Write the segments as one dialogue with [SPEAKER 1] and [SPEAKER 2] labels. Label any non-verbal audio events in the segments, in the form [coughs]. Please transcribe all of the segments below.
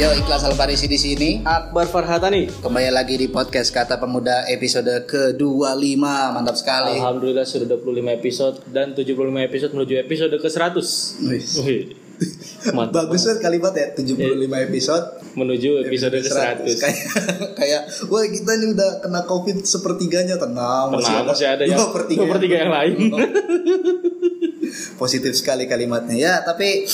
[SPEAKER 1] Ikhlas Alfarisi di sini.
[SPEAKER 2] Akbar Farhatani.
[SPEAKER 1] Kembali lagi di podcast Kata Pemuda episode ke-25. Mantap sekali.
[SPEAKER 2] Alhamdulillah sudah 25 episode dan 75 episode menuju episode ke 100.
[SPEAKER 1] Wih.
[SPEAKER 2] Wih. Mantap.
[SPEAKER 1] Bagus banget kalimat ya 75 episode
[SPEAKER 2] Menuju Iya, episode ke 100.
[SPEAKER 1] Kayak kayak wah kita ini udah kena Covid sepertiganya tenang,
[SPEAKER 2] Tenang, masih ada yang
[SPEAKER 1] dua per tiga.
[SPEAKER 2] dua per tiga yang lain.
[SPEAKER 1] Positif sekali kalimatnya ya, tapi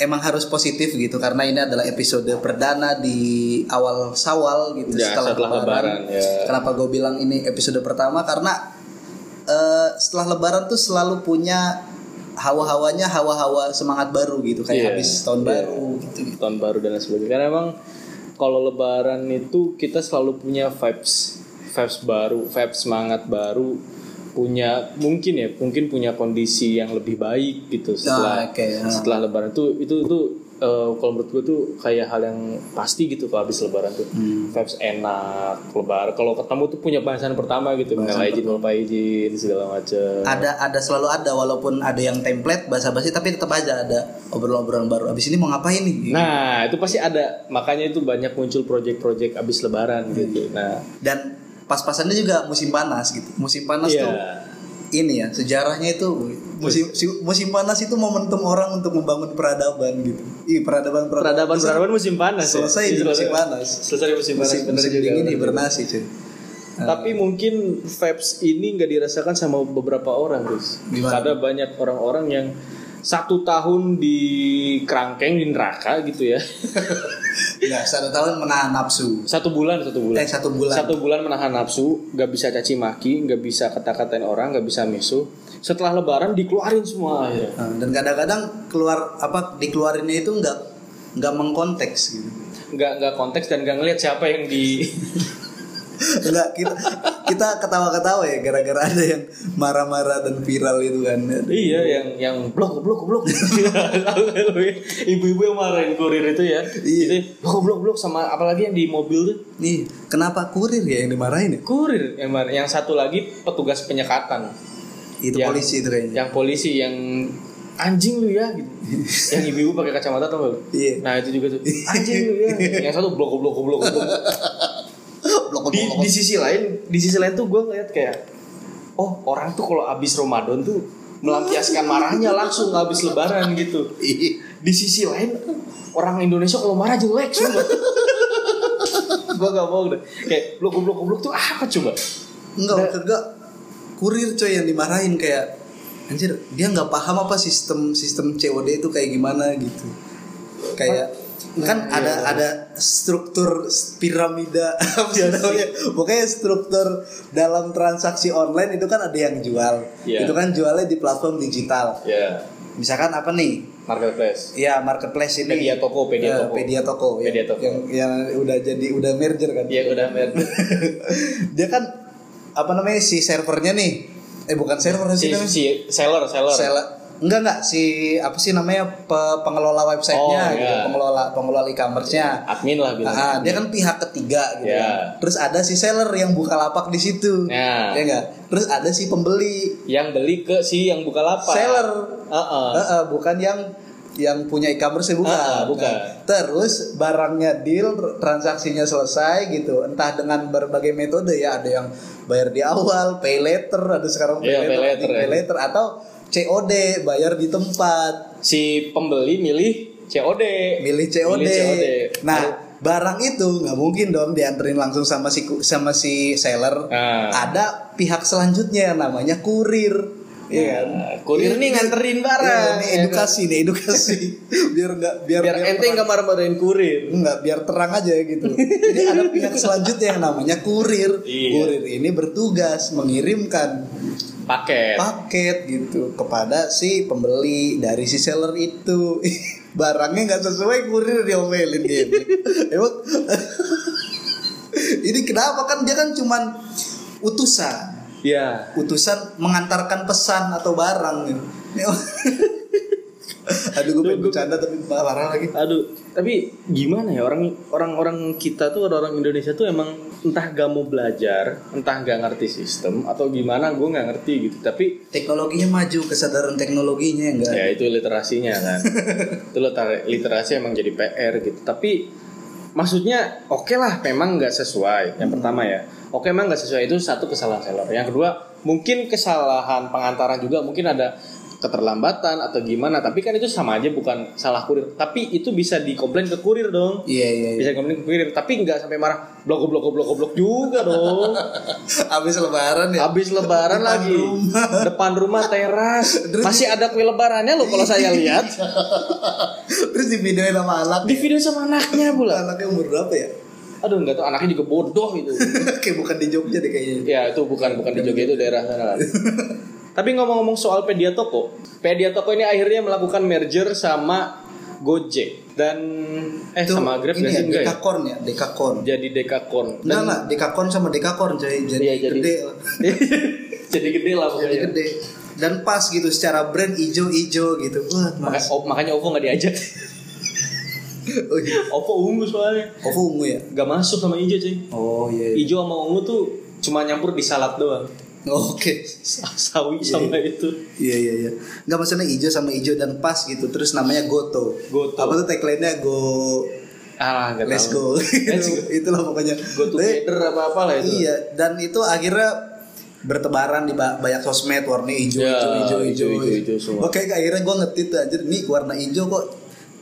[SPEAKER 1] emang harus positif gitu karena ini adalah episode perdana di awal Sawal gitu
[SPEAKER 2] Ya,
[SPEAKER 1] setelah,
[SPEAKER 2] setelah
[SPEAKER 1] lebaran.
[SPEAKER 2] Lebaran, ya.
[SPEAKER 1] Kenapa gue bilang ini episode pertama karena eh, setelah lebaran tuh selalu punya hawa-hawanya hawa-hawa semangat baru gitu
[SPEAKER 2] Iya,
[SPEAKER 1] kayak habis tahun
[SPEAKER 2] iya.
[SPEAKER 1] baru gitu.
[SPEAKER 2] Tahun baru dan lain sebagainya. Karena emang kalau lebaran itu kita selalu punya vibes vibes baru, vibes semangat baru punya mungkin ya mungkin punya kondisi yang lebih baik gitu setelah
[SPEAKER 1] Nah, oke, ya.
[SPEAKER 2] setelah lebaran tuh itu itu eh, kalau menurut gue tuh kayak hal yang pasti gitu kalau habis lebaran tuh vibes enak lebar kalau ketemu tuh punya bahasan pertama gitu mengenai izin lupa izin segala macem
[SPEAKER 1] ada ada selalu ada walaupun ada yang template basa-basi tapi tetap aja ada obrolan-obrolan baru abis ini mau ngapain nih
[SPEAKER 2] nah itu pasti ada makanya itu banyak muncul project-project abis lebaran gitu nah
[SPEAKER 1] dan pas-pasannya juga musim panas gitu musim panas
[SPEAKER 2] iya
[SPEAKER 1] tuh ini ya sejarahnya itu musim si- musim panas itu momentum orang untuk membangun peradaban gitu ih peradaban
[SPEAKER 2] peradaban peradaban musim panas ya.
[SPEAKER 1] selesai di
[SPEAKER 2] Iya,
[SPEAKER 1] musim
[SPEAKER 2] selesai.
[SPEAKER 1] panas.
[SPEAKER 2] selesai di musim panas
[SPEAKER 1] musim,
[SPEAKER 2] bener
[SPEAKER 1] musim
[SPEAKER 2] juga,
[SPEAKER 1] dingin
[SPEAKER 2] bener juga.
[SPEAKER 1] hibernasi cuy [laughs]
[SPEAKER 2] Tapi mungkin vibes ini nggak dirasakan sama beberapa orang, Gus.
[SPEAKER 1] Gimana?
[SPEAKER 2] Ada banyak orang-orang yang satu tahun di kerangkeng di neraka gitu ya. [laughs]
[SPEAKER 1] ya satu tahun menahan nafsu
[SPEAKER 2] Satu bulan, satu bulan.
[SPEAKER 1] Eh, satu bulan.
[SPEAKER 2] Satu bulan menahan nafsu, nggak bisa caci maki, nggak bisa kata-katain orang, nggak bisa misuh. Setelah lebaran dikeluarin semua ya. akhirnya.
[SPEAKER 1] Nah, dan kadang-kadang keluar apa dikeluarinnya itu nggak nggak mengkonteks gitu
[SPEAKER 2] Nggak nggak konteks dan nggak ngelihat siapa yang di [laughs]
[SPEAKER 1] Enggak, kita kita ketawa-ketawa ya gara-gara ada yang marah-marah dan viral itu kan.
[SPEAKER 2] Iya yang yang blok blok blok. [laughs] Ibu-ibu yang marahin kurir itu ya.
[SPEAKER 1] Iya.
[SPEAKER 2] Itu, Blok blok blok sama apalagi yang di mobil tuh.
[SPEAKER 1] Nih, kenapa kurir ya yang dimarahin ya?
[SPEAKER 2] Kurir yang mar- yang satu lagi petugas penyekatan.
[SPEAKER 1] Itu
[SPEAKER 2] Yang-
[SPEAKER 1] polisi itu kayaknya.
[SPEAKER 2] Yang polisi yang anjing lu ya [laughs] gitu. yang ibu-ibu pakai kacamata tau gak? lu?
[SPEAKER 1] Iya.
[SPEAKER 2] Nah itu juga [laughs] tuh anjing lu ya. Yang satu blok blok blok blok. [laughs]
[SPEAKER 1] Blok
[SPEAKER 2] di, di sisi lain di sisi lain tuh gue ngeliat kayak oh orang tuh kalau abis Ramadan tuh melampiaskan marahnya langsung nggak abis Lebaran gitu [laughs] di sisi lain orang Indonesia kalau marah jelek [laughs] cuma gue gak mau deh kayak blok blok blok tuh apa coba
[SPEAKER 1] Enggak, enggak. Kurir coy yang dimarahin kayak anjir, dia nggak paham apa sistem sistem COD itu kayak gimana gitu. Kayak kan ada ada struktur piramida [laughs] apa sih namanya? Pokoknya struktur dalam transaksi online itu kan ada yang jual.
[SPEAKER 2] Iya.
[SPEAKER 1] Itu kan jualnya di platform digital.
[SPEAKER 2] ya
[SPEAKER 1] Misalkan apa nih?
[SPEAKER 2] marketplace
[SPEAKER 1] Ya marketplace ini.
[SPEAKER 2] Pedia Toko, Pedia
[SPEAKER 1] Eh,
[SPEAKER 2] Toko.
[SPEAKER 1] Pedia Toko, yang-
[SPEAKER 2] Pedia Toko.
[SPEAKER 1] Yang, yang udah jadi udah merger kan.
[SPEAKER 2] ya udah mer
[SPEAKER 1] [laughs] dia kan apa namanya si servernya nih eh bukan server sih
[SPEAKER 2] si,
[SPEAKER 1] namanya
[SPEAKER 2] si seller kan? seller
[SPEAKER 1] Sela- enggak enggak si apa sih namanya pe- pengelola websitenya
[SPEAKER 2] Oh,
[SPEAKER 1] gitu
[SPEAKER 2] iya.
[SPEAKER 1] pengelola pengelola e-commerce-nya
[SPEAKER 2] admin lah bilang
[SPEAKER 1] Ah, dia kan pihak ketiga gitu
[SPEAKER 2] Iya.
[SPEAKER 1] kan. terus ada si seller yang buka lapak di situ
[SPEAKER 2] Nah.
[SPEAKER 1] ya enggak terus ada si pembeli
[SPEAKER 2] yang beli ke si yang buka lapak
[SPEAKER 1] seller
[SPEAKER 2] Heeh.
[SPEAKER 1] Eh, eh, bukan yang yang punya e-commerce ya, bukan. Nah,
[SPEAKER 2] Ah, ah, bukan.
[SPEAKER 1] terus barangnya deal, transaksinya selesai gitu. Entah dengan berbagai metode ya, ada yang bayar di awal, pay later, ada sekarang
[SPEAKER 2] Iya, pay later,
[SPEAKER 1] pay
[SPEAKER 2] ya.
[SPEAKER 1] later, atau COD, bayar di tempat,
[SPEAKER 2] si pembeli milih COD
[SPEAKER 1] milih COD.
[SPEAKER 2] Milih COD.
[SPEAKER 1] Nah, barang itu nggak mungkin dong dianterin langsung sama si ku- sama si seller.
[SPEAKER 2] Ah.
[SPEAKER 1] Ada pihak selanjutnya namanya kurir. Iya kan?
[SPEAKER 2] Nah, kurir nih nganterin barang.
[SPEAKER 1] Iya, ini edukasi nih edukasi
[SPEAKER 2] [laughs]
[SPEAKER 1] biar nggak biar,
[SPEAKER 2] biar ente nggak marah-marahin kurir
[SPEAKER 1] Enggak, biar terang aja gitu. Jadi ada pihak selanjutnya yang namanya kurir.
[SPEAKER 2] Iya.
[SPEAKER 1] Kurir ini bertugas mengirimkan
[SPEAKER 2] paket
[SPEAKER 1] paket gitu kepada si pembeli dari si seller itu. [laughs] Barangnya nggak sesuai kurir diomelin dia. Emang [laughs] ini kenapa kan dia kan cuman utusan
[SPEAKER 2] ya
[SPEAKER 1] utusan mengantarkan pesan atau barang [laughs] gitu. Ini- Aduh gue pengen bercanda tapi parah lagi.
[SPEAKER 2] aduh tapi gimana ya orang orang orang kita tuh orang Indonesia tuh emang entah gak mau belajar entah gak ngerti sistem atau gimana gue nggak ngerti gitu tapi
[SPEAKER 1] Teknologinya maju, kesadaran teknologinya
[SPEAKER 2] Iya.
[SPEAKER 1] enggak.
[SPEAKER 2] ya itu literasinya kan itu liter- literasi emang jadi PR gitu tapi maksudnya oke lah memang nggak sesuai yang pertama ya oke memang nggak sesuai itu satu kesalahan seller yang kedua mungkin kesalahan pengantaran juga mungkin ada keterlambatan atau gimana tapi kan itu sama aja bukan salah kurir tapi itu bisa dikomplain ke kurir dong
[SPEAKER 1] Iya iya. iya.
[SPEAKER 2] bisa dikomplain ke kurir tapi nggak sampai marah blok blok blok blok juga dong
[SPEAKER 1] Abis Lebaran ya.
[SPEAKER 2] habis lebaran
[SPEAKER 1] Depan
[SPEAKER 2] lagi
[SPEAKER 1] rumah.
[SPEAKER 2] depan rumah teras
[SPEAKER 1] Terus- Iya.
[SPEAKER 2] masih ada kue lebarannya loh kalau saya lihat
[SPEAKER 1] Terus di videoin sama anak.
[SPEAKER 2] di video sama anaknya pula
[SPEAKER 1] Anaknya umur berapa ya? [laughs]
[SPEAKER 2] aduh nggak tuh anaknya juga bodoh gitu
[SPEAKER 1] Kayak bukan di Jogja deh kayaknya.
[SPEAKER 2] ya itu bukan bukan di Jogja itu daerah sana lah. tapi ngomong-ngomong soal Pedia Toko Pedia Toko ini akhirnya melakukan merger sama Gojek dan eh
[SPEAKER 1] Itu
[SPEAKER 2] sama Grab
[SPEAKER 1] ini
[SPEAKER 2] dan
[SPEAKER 1] ya, Nah.
[SPEAKER 2] enggak ya?
[SPEAKER 1] Dekakorn ya, Dekakorn.
[SPEAKER 2] jadi Dekakorn
[SPEAKER 1] Enggak
[SPEAKER 2] Dan-
[SPEAKER 1] lah, Dekakorn sama Dekakorn jadi jadi,
[SPEAKER 2] Iya, jadi- iya.
[SPEAKER 1] gede,
[SPEAKER 2] [laughs] jadi gede lah
[SPEAKER 1] jadi
[SPEAKER 2] pokoknya
[SPEAKER 1] gede. Dan pas gitu secara brand ijo-ijo gitu. Wah,
[SPEAKER 2] Maka,
[SPEAKER 1] mas.
[SPEAKER 2] oh, makanya Ovo nggak diajak
[SPEAKER 1] [laughs] Oh, iya.
[SPEAKER 2] Ovo ungu soalnya
[SPEAKER 1] Ovo ungu ya?
[SPEAKER 2] nggak masuk sama hijau cuy
[SPEAKER 1] Oh iya.
[SPEAKER 2] Ijo sama ungu tuh cuma nyampur di salad doang.
[SPEAKER 1] Oke.
[SPEAKER 2] Sa- Sawi sama itu.
[SPEAKER 1] Iya iya iya. Enggak maksudnya ijo sama ijo dan pas gitu. Terus namanya Goto.
[SPEAKER 2] Goto.
[SPEAKER 1] Apa tuh tagline-nya Go
[SPEAKER 2] Ah, enggak
[SPEAKER 1] Let's go.
[SPEAKER 2] Let's
[SPEAKER 1] [laughs]
[SPEAKER 2] go.
[SPEAKER 1] Itulah pokoknya.
[SPEAKER 2] Go together apa apa lah itu.
[SPEAKER 1] Iya, dan itu akhirnya bertebaran di ba- banyak sosmed warna hijau,
[SPEAKER 2] Ya,
[SPEAKER 1] hijau, hijau,
[SPEAKER 2] hijau, hijau semua.
[SPEAKER 1] Oke, akhirnya gue ngetit tuh anjir, nih warna hijau kok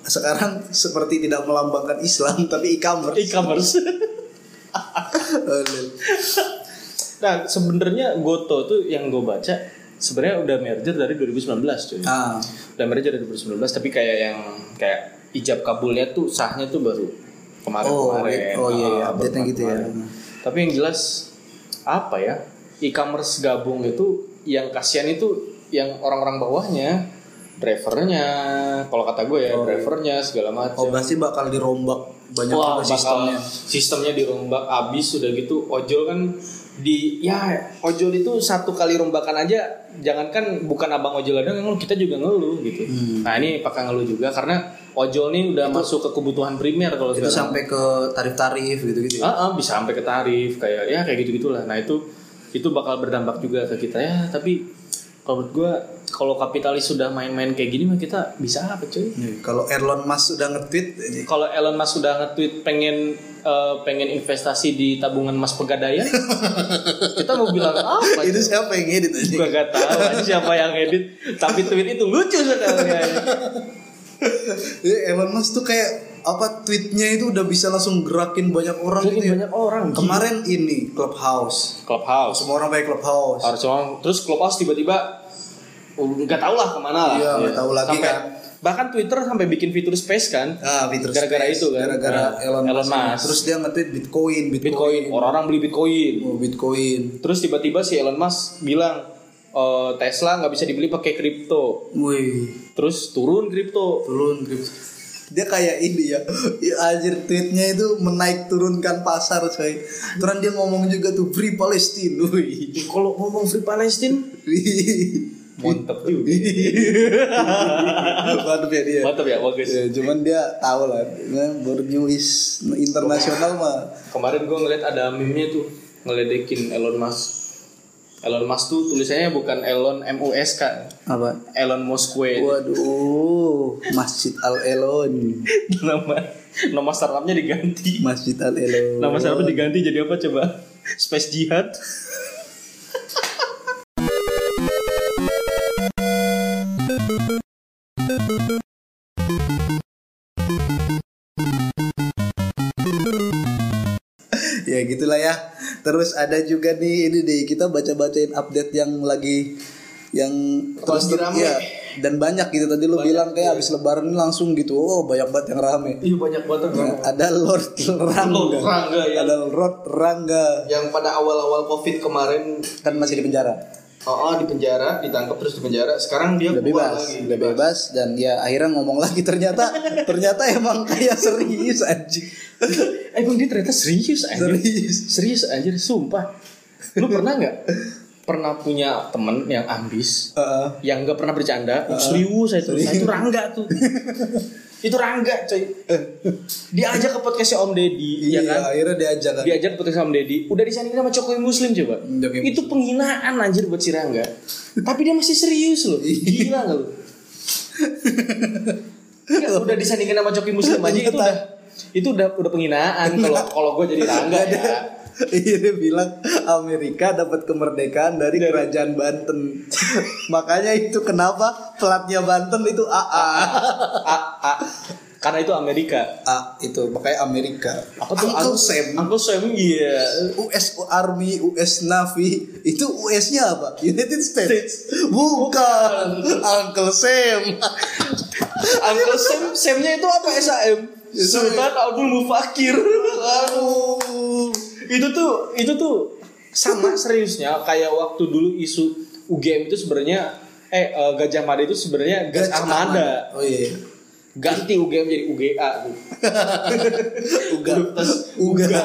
[SPEAKER 1] sekarang seperti tidak melambangkan Islam [laughs] tapi e-commerce.
[SPEAKER 2] E-commerce. [laughs]
[SPEAKER 1] Aduh.
[SPEAKER 2] nah, sebenarnya Goto tuh yang gue baca sebenarnya udah merger dari 2019 cuy.
[SPEAKER 1] ah,
[SPEAKER 2] Udah merger dari 2019 tapi kayak yang kayak ijab kabulnya tuh sahnya tuh baru kemarin kemarin.
[SPEAKER 1] oh, oh iya, iya.
[SPEAKER 2] Ah, baru
[SPEAKER 1] update-nya gitu ya.
[SPEAKER 2] kemarin. Tapi yang jelas apa ya? E-commerce gabung itu yang kasihan itu yang orang-orang bawahnya, drivernya, kalau kata gue
[SPEAKER 1] iya.
[SPEAKER 2] ya, drivernya segala
[SPEAKER 1] Oh,
[SPEAKER 2] macam.
[SPEAKER 1] pasti bakal dirombak banyak
[SPEAKER 2] Wah,
[SPEAKER 1] banget
[SPEAKER 2] bakal
[SPEAKER 1] sistemnya.
[SPEAKER 2] sistemnya dirombak abis sudah gitu ojol kan di ya ojol itu satu kali rombakan aja jangankan bukan abang ojol ada ngeluh kita juga ngeluh gitu. Nah, ini pakai ngeluh juga karena ojol nih udah masuk ke kebutuhan primer kalau
[SPEAKER 1] Itu
[SPEAKER 2] sekarang.
[SPEAKER 1] sampai ke tarif-tarif gitu-gitu. ya.
[SPEAKER 2] Ah, ah, bisa sampai ke tarif kayak ya kayak gitu gitulah. Nah itu itu bakal berdampak juga ke kita ya. Tapi kalau menurut gue kalau kapitalis sudah main-main kayak gini mah kita bisa apa cuy?
[SPEAKER 1] Nih, Kalau Elon Musk udah nge-tweet, anjir.
[SPEAKER 2] Kalau Elon Musk sudah nge-tweet pengen eh, pengen investasi di tabungan Mas
[SPEAKER 1] [laughs]
[SPEAKER 2] Pegadaian, kita mau bilang apa?
[SPEAKER 1] itu
[SPEAKER 2] cuy?
[SPEAKER 1] siapa yang edit aja?
[SPEAKER 2] Gua gak tahu aja siapa yang edit, tapi tweet itu lucu sekali.
[SPEAKER 1] Iya, Jadi Elon Musk tuh kayak apa tweetnya itu udah bisa langsung gerakin banyak orang
[SPEAKER 2] Jadi
[SPEAKER 1] gitu ya.
[SPEAKER 2] banyak orang. Kemarin
[SPEAKER 1] Kemarin ini Clubhouse,
[SPEAKER 2] Clubhouse
[SPEAKER 1] semua orang pakai Clubhouse.
[SPEAKER 2] harus orang terus Clubhouse tiba-tiba uh, nggak tahu lah kemana lah
[SPEAKER 1] Iya, nggak tahu lagi
[SPEAKER 2] Sampai-
[SPEAKER 1] kan.
[SPEAKER 2] bahkan Twitter sampai bikin fitur space kan
[SPEAKER 1] Ah, Twitter
[SPEAKER 2] Gara-gara
[SPEAKER 1] Space,
[SPEAKER 2] itu kan?
[SPEAKER 1] Gara-gara
[SPEAKER 2] Nah,
[SPEAKER 1] Elon,
[SPEAKER 2] Elon
[SPEAKER 1] Musk.
[SPEAKER 2] Musk.
[SPEAKER 1] Terus dia nge-tweet Bitcoin, Bitcoin.
[SPEAKER 2] Bitcoin orang-orang beli Bitcoin
[SPEAKER 1] Oh, Bitcoin.
[SPEAKER 2] terus tiba-tiba si Elon Musk bilang "Eh, Tesla nggak bisa dibeli pakai kripto
[SPEAKER 1] Wih,
[SPEAKER 2] terus turun kripto
[SPEAKER 1] turun kripto. Dia kayak ini ya. [laughs] ya anjir tweetnya itu menaik turunkan pasar, coy. Terus dia ngomong juga tuh free Palestine. Wih. [laughs]
[SPEAKER 2] Iya, kalau ngomong free Palestine Iya. mantep juga
[SPEAKER 1] Waduh ya dia.
[SPEAKER 2] mantep ya bagus
[SPEAKER 1] Ya, cuman dia tahu lah, nah, baru new is internasional mah.
[SPEAKER 2] kemarin gue ngeliat ada meme-nya tuh ngeledekin Elon Musk Elon Musk tuh tulisannya bukan Elon M U S K
[SPEAKER 1] Apa?
[SPEAKER 2] Elon Musk
[SPEAKER 1] Waduh, Masjid Al Elon,
[SPEAKER 2] [laughs] nama nama startupnya diganti
[SPEAKER 1] Masjid Al Elon.
[SPEAKER 2] nama startupnya diganti jadi apa coba space jihad
[SPEAKER 1] Ya gitulah ya. Terus ada juga nih ini deh kita baca-bacain update yang lagi yang
[SPEAKER 2] Lagi
[SPEAKER 1] terus-
[SPEAKER 2] rame.
[SPEAKER 1] iya. dan banyak gitu tadi lu bilang kayak habis lebaran ini langsung gitu. Oh, banyak banget yang rame.
[SPEAKER 2] iya banyak banget
[SPEAKER 1] Nah, ada Lord Rangga.
[SPEAKER 2] Lord Rangga, ya.
[SPEAKER 1] Ada Lord Rangga
[SPEAKER 2] yang pada awal-awal covid kemarin
[SPEAKER 1] kan masih di penjara.
[SPEAKER 2] oh, di penjara ditangkap terus di penjara sekarang dia
[SPEAKER 1] udah bebas, udah bebas dan ya akhirnya ngomong lagi ternyata ternyata emang kayak serius
[SPEAKER 2] [laughs]
[SPEAKER 1] anjing.
[SPEAKER 2] eh bang dia ternyata serius anjir
[SPEAKER 1] Serius.
[SPEAKER 2] serius anjir sumpah lu pernah nggak pernah punya temen yang ambis
[SPEAKER 1] Heeh.
[SPEAKER 2] yang nggak pernah bercanda serius saya tuh itu rangga tuh itu rangga coy diajak ke podcastnya om deddy
[SPEAKER 1] iya,
[SPEAKER 2] ya kan
[SPEAKER 1] akhirnya diajak kan. [laughs]
[SPEAKER 2] diajak ke podcast sama Deddy udah disandingin sama Cokoy Muslim coba
[SPEAKER 1] Cokoy Muslim.
[SPEAKER 2] itu penghinaan anjir buat si Rangga tapi dia masih serius loh gila gak lu Nggak, udah disandingin sama Cokoy Muslim aja itu
[SPEAKER 1] Ternyata-
[SPEAKER 2] udah itu udah udah [laughs] penghinaan kalau kalau gue jadi tangga ya.
[SPEAKER 1] Iya dia bilang Amerika dapat kemerdekaan dari
[SPEAKER 2] Dari-
[SPEAKER 1] kerajaan Banten. [laughs] Makanya itu kenapa platnya Banten itu AA.
[SPEAKER 2] A, A. Karena itu Amerika.
[SPEAKER 1] A itu makanya Amerika.
[SPEAKER 2] Apa tuh
[SPEAKER 1] Uncle Sam,
[SPEAKER 2] Uncle Sam iya.
[SPEAKER 1] US Army, US Navy, itu US-nya apa? United
[SPEAKER 2] States.
[SPEAKER 1] States. Bukan. Uncle Sam.
[SPEAKER 2] Uncle Sam Samnya itu apa SAM? Sultan Abdul Mufakir.
[SPEAKER 1] Aduh.
[SPEAKER 2] itu tuh itu tuh sama seriusnya kayak waktu dulu isu UGM itu sebenarnya eh eh, Gajah Mada itu sebenarnya Gas Armada.
[SPEAKER 1] Oh iya.
[SPEAKER 2] Ganti UGM jadi UGA.
[SPEAKER 1] Uga.
[SPEAKER 2] Uga.
[SPEAKER 1] Uga.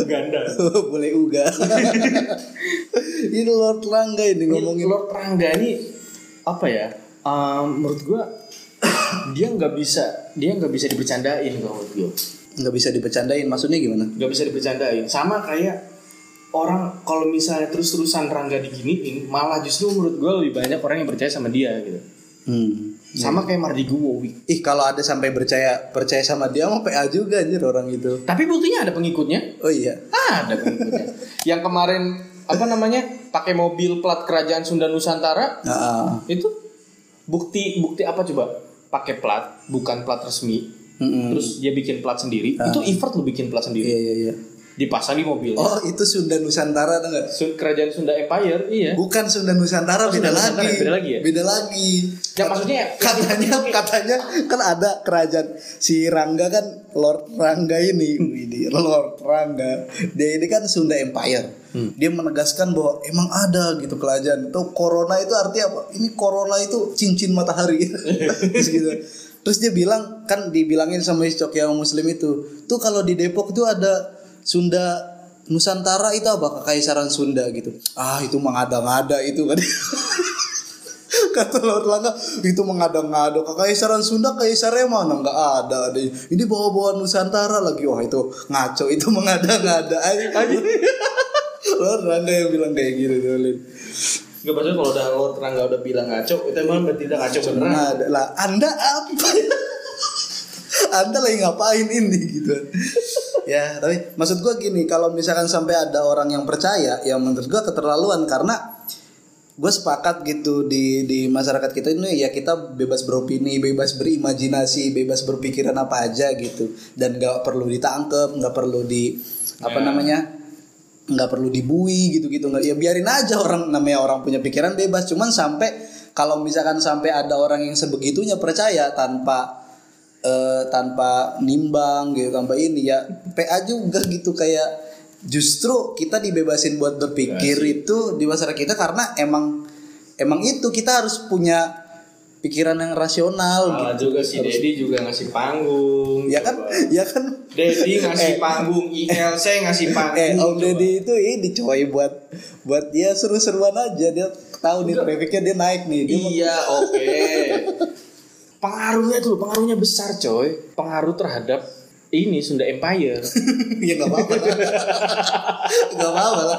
[SPEAKER 2] Uganda.
[SPEAKER 1] [laughs] Boleh
[SPEAKER 2] [laughs]
[SPEAKER 1] uga. ini Lord Langga ini ngomongin.
[SPEAKER 2] Lord Rangga ini apa ya? Em, menurut gua [coughs] dia nggak bisa dia nggak bisa dibercandain kalau menurut gua.
[SPEAKER 1] nggak bisa dibecandain maksudnya gimana
[SPEAKER 2] nggak bisa dibercandain sama kayak orang kalau misalnya terus-terusan Rangga diginiin malah justru menurut gua lebih banyak orang yang percaya sama dia gitu
[SPEAKER 1] hmm.
[SPEAKER 2] sama kayak Mardi Guwowi
[SPEAKER 1] ih kalau ada sampai percaya percaya sama dia mah PA juga anjir orang itu
[SPEAKER 2] tapi buktinya ada pengikutnya
[SPEAKER 1] oh iya
[SPEAKER 2] ada pengikutnya yang kemarin apa namanya pakai mobil plat kerajaan Sunda Nusantara
[SPEAKER 1] ah
[SPEAKER 2] itu bukti bukti apa coba pakai plat bukan plat resmi
[SPEAKER 1] Mm-mm.
[SPEAKER 2] terus dia bikin plat sendiri itu effort lu bikin plat sendiri
[SPEAKER 1] Hmm, Ah. iya iya iya
[SPEAKER 2] dipasang di mobil
[SPEAKER 1] oh itu Sunda Nusantara tau nggak
[SPEAKER 2] Sun- kerajaan Sunda Empire iya
[SPEAKER 1] bukan Sunda Nusantara
[SPEAKER 2] Oh,
[SPEAKER 1] beda lagi
[SPEAKER 2] Sunda Nusantara, beda lagi ya?
[SPEAKER 1] beda lagi
[SPEAKER 2] Ya, maksudnya-
[SPEAKER 1] katanya katanya kan ada kerajaan si Rangga kan Lord Rangga ini ini Lord Rangga dia ini kan Sunda Empire dia menegaskan bahwa emang ada gitu kerajaan itu corona itu artinya apa ini corona itu cincin
[SPEAKER 2] [laughs]
[SPEAKER 1] matahari terus gitu terus dia bilang kan dibilangin sama si Cokiam Muslim itu tuh kalau di Depok tuh ada Sunda Nusantara itu apa kekaisaran Sunda gitu ah itu mengada-ngada itu [laughs] kan [laughs] kata Lord Langga itu mengada-ngada kekaisaran Sunda kaisarnya mana nggak ada ada ini bawa-bawa Nusantara lagi wah itu ngaco itu mengada-ngada aja [laughs] Lord Langga yang bilang kayak gitu tuh, Lin.
[SPEAKER 2] Gak maksudnya kalau udah lo terangga udah bilang ngaco, itu emang berarti udah ngaco beneran.
[SPEAKER 1] Mengada lah Anda apa Anda lagi ngapain ini gitu ya tapi maksud gua gini kalau misalkan sampai ada orang yang percaya yang menurut gua keterlaluan karena gue sepakat gitu di di masyarakat kita ini ya kita bebas beropini bebas berimajinasi bebas berpikiran apa aja gitu dan gak perlu ditangkep nggak perlu di
[SPEAKER 2] Ya.
[SPEAKER 1] apa namanya nggak perlu dibui gitu gitu nggak ya biarin aja orang namanya orang punya pikiran bebas cuman sampai kalau misalkan sampai ada orang yang sebegitunya percaya tanpa eh, tanpa nimbang gitu tanpa ini ya PA juga gitu kayak justru kita dibebasin buat berpikir itu di masyarakat kita karena emang emang itu kita harus punya pikiran yang rasional
[SPEAKER 2] Malah
[SPEAKER 1] gitu.
[SPEAKER 2] juga si
[SPEAKER 1] Harus-
[SPEAKER 2] Dedi juga ngasih panggung.
[SPEAKER 1] ya kan
[SPEAKER 2] coba.
[SPEAKER 1] ya kan [laughs]
[SPEAKER 2] Dedi ngasih panggung, ILC ngasih panggung.
[SPEAKER 1] Eh, Om
[SPEAKER 2] coba.
[SPEAKER 1] Deddy itu ini coy buat buat dia seru-seruan aja dia tahu nih trafficnya dia naik nih. Dia mau-
[SPEAKER 2] Iya, oke. pengaruhnya tuh, pengaruhnya besar coy. Pengaruh terhadap ini Sunda Empire.
[SPEAKER 1] [laughs] ya nggak apa-apa. lah. [laughs] Nggak apa-apa lah.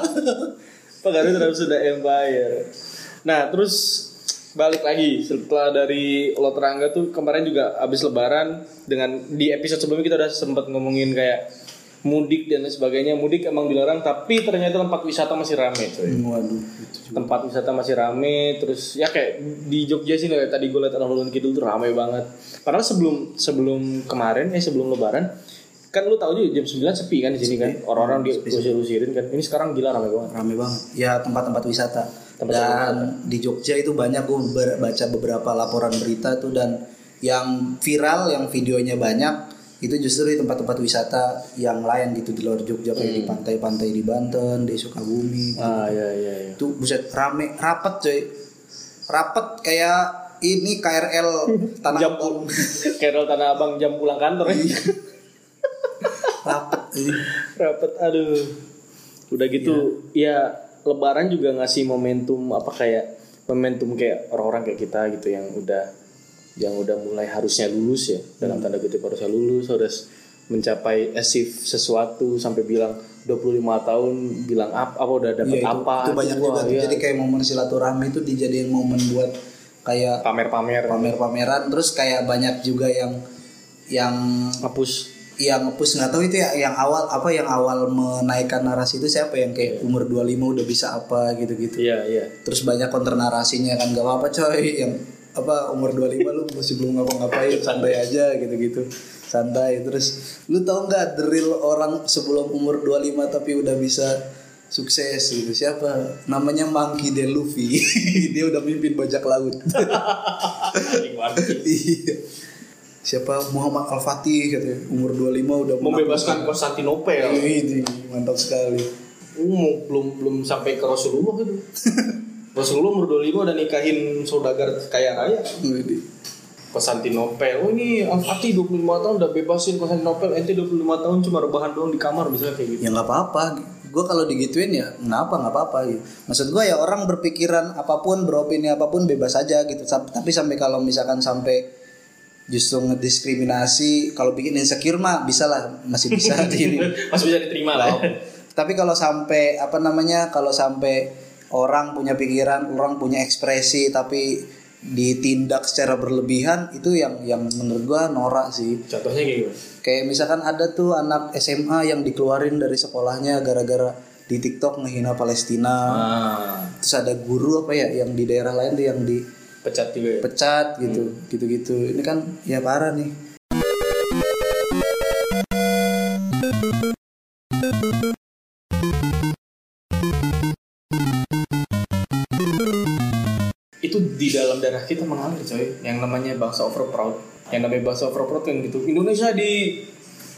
[SPEAKER 2] pengaruh terhadap Sunda Empire. Nah, terus balik lagi setelah dari Lot Rangga tuh kemarin juga abis lebaran dengan di episode sebelumnya kita udah sempat ngomongin kayak mudik dan lain sebagainya. Mudik emang dilarang tapi ternyata tempat wisata masih rame coy.
[SPEAKER 1] Waduh.
[SPEAKER 2] Tempat wisata masih rame terus ya kayak di Jogja sih kayak tadi gue liat orang Ulun Kidul tuh rame banget. Padahal sebelum sebelum kemarin eh sebelum lebaran kan lu tahu juga jam 9 sepi kan di sini kan orang-orang diusir-usirin kan. Ini sekarang gila rame banget.
[SPEAKER 1] Rame banget. Ya tempat-tempat wisata.
[SPEAKER 2] Tempat-tempat
[SPEAKER 1] dan di Jogja itu banyak gue ber- baca beberapa laporan berita tuh dan yang viral yang videonya banyak itu justru di tempat-tempat wisata yang lain gitu di luar Jogja kayak di pantai-pantai di Banten, di Sukabumi.
[SPEAKER 2] Ah iya iya iya.
[SPEAKER 1] itu buset rame rapet coy rapet kayak ini KRL tanah
[SPEAKER 2] Jam
[SPEAKER 1] abang
[SPEAKER 2] [laughs]
[SPEAKER 1] Iya.
[SPEAKER 2] Kerol Tanah Abang jam pulang kantor ya.
[SPEAKER 1] [laughs] rapet iya, ini.
[SPEAKER 2] Rapet aduh. Udah gitu
[SPEAKER 1] Iya.
[SPEAKER 2] ya lebaran juga ngasih momentum apa kayak momentum kayak orang-orang kayak kita gitu yang udah yang udah mulai harusnya lulus ya dalam
[SPEAKER 1] Hmm.
[SPEAKER 2] tanda kutip harusnya lulus harus mencapai achieve sesuatu sampai bilang 25 tahun bilang apa apa udah
[SPEAKER 1] Iya,
[SPEAKER 2] dapat
[SPEAKER 1] itu,
[SPEAKER 2] apa
[SPEAKER 1] itu banyak
[SPEAKER 2] wah,
[SPEAKER 1] juga tuh.
[SPEAKER 2] iya.
[SPEAKER 1] jadi kayak momen silaturahmi itu dijadiin momen buat kayak
[SPEAKER 2] pamer-pamer
[SPEAKER 1] pamer-pameran terus kayak banyak juga yang yang
[SPEAKER 2] hapus
[SPEAKER 1] yang ngepush nggak tahu itu ya yang awal apa yang awal menaikkan narasi itu siapa yang kayak umur 25 udah bisa apa gitu-gitu.
[SPEAKER 2] Iya, iya.
[SPEAKER 1] Terus banyak konter narasinya kan gak apa-apa coy yang apa umur 25 lu masih belum ngapa-ngapain santai aja gitu-gitu. Santai terus lu tau nggak drill orang sebelum umur 25 tapi udah bisa sukses gitu siapa namanya Monkey D. Luffy [laughs] dia udah mimpin bajak laut [laughs] iya siapa Muhammad Al Fatih katanya umur 25 udah
[SPEAKER 2] Membebaskan
[SPEAKER 1] menaklukkan-
[SPEAKER 2] Konstantinopel.
[SPEAKER 1] Ini mantap sekali.
[SPEAKER 2] Ungu, belum belum sampai ke Rasulullah [laughs] gitu. Rasulullah umur 25 udah nikahin saudagar kaya raya.
[SPEAKER 1] Ini.
[SPEAKER 2] Konstantinopel. Oh ini Al-Fatih 25 tahun udah bebasin Konstantinopel. Ente 25 tahun cuma rebahan doang di kamar misalnya kayak gitu.
[SPEAKER 1] Ya nggak apa-apa. Gue kalau digituin ya kenapa nggak apa-apa gitu. Maksud gue ya orang berpikiran apapun beropini apapun bebas aja gitu. Sam- Tapi sampai kalau misalkan sampai justru ngediskriminasi kalau bikin insecure mah bisa lah masih bisa ini.
[SPEAKER 2] [laughs] Masih bisa diterima lah. ya.
[SPEAKER 1] Tapi kalau sampai apa namanya kalau sampai orang punya pikiran, orang punya ekspresi tapi ditindak secara berlebihan itu yang yang menurut gua norak sih.
[SPEAKER 2] Contohnya kayak gitu. gimana?
[SPEAKER 1] Kayak misalkan ada tuh anak SMA yang dikeluarin dari sekolahnya gara-gara di TikTok ngehina Palestina.
[SPEAKER 2] Ah,
[SPEAKER 1] Terus ada guru apa ya yang di daerah lain tuh yang
[SPEAKER 2] pecat juga ya.
[SPEAKER 1] dipecat gitu, gitu-gitu. Ini kan ya parah nih.
[SPEAKER 2] itu di dalam darah kita mengalir coy yang namanya bangsa overproud yang namanya bangsa overproud yang gitu Indonesia di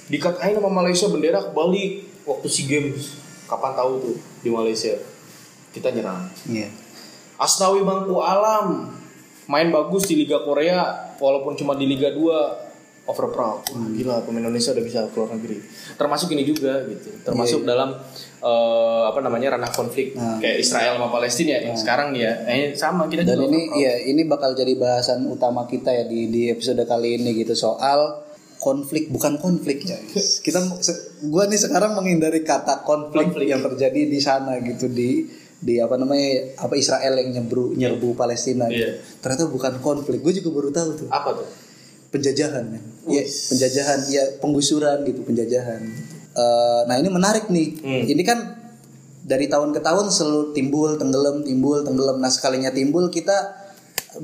[SPEAKER 2] dikatain sama Malaysia bendera kebalik waktu SEA Games kapan tahu tuh di Malaysia kita nyerang
[SPEAKER 1] Iya.
[SPEAKER 2] Asnawi Bangku Alam main bagus di Liga Korea walaupun cuma di Liga 2 overproud Wah, gila pemain Indonesia udah bisa keluar negeri termasuk ini juga gitu termasuk dalam eh, apa namanya ranah konflik
[SPEAKER 1] Iya, Nah.
[SPEAKER 2] kayak Israel sama Palestina yang sekarang nih ya eh, sama kita
[SPEAKER 1] Dan
[SPEAKER 2] juga
[SPEAKER 1] ini
[SPEAKER 2] overproud.
[SPEAKER 1] ya ini bakal jadi bahasan utama kita ya di di episode kali ini gitu soal konflik bukan konflik guys. Kita se- gua nih sekarang menghindari kata konflik,
[SPEAKER 2] Konflik.
[SPEAKER 1] yang terjadi di sana gitu di di apa namanya apa Israel yang nyebru nyerbu Palestina gitu.
[SPEAKER 2] Iya.
[SPEAKER 1] Ternyata bukan konflik. Gue juga baru tahu tuh.
[SPEAKER 2] apa tuh
[SPEAKER 1] Penjajahan ya. Iya, penjajahan ya penggusuran gitu penjajahan. Eh, nah ini menarik nih.
[SPEAKER 2] Hmm.
[SPEAKER 1] Ini kan dari tahun ke tahun selalu timbul tenggelam timbul tenggelam. Nah sekalinya timbul kita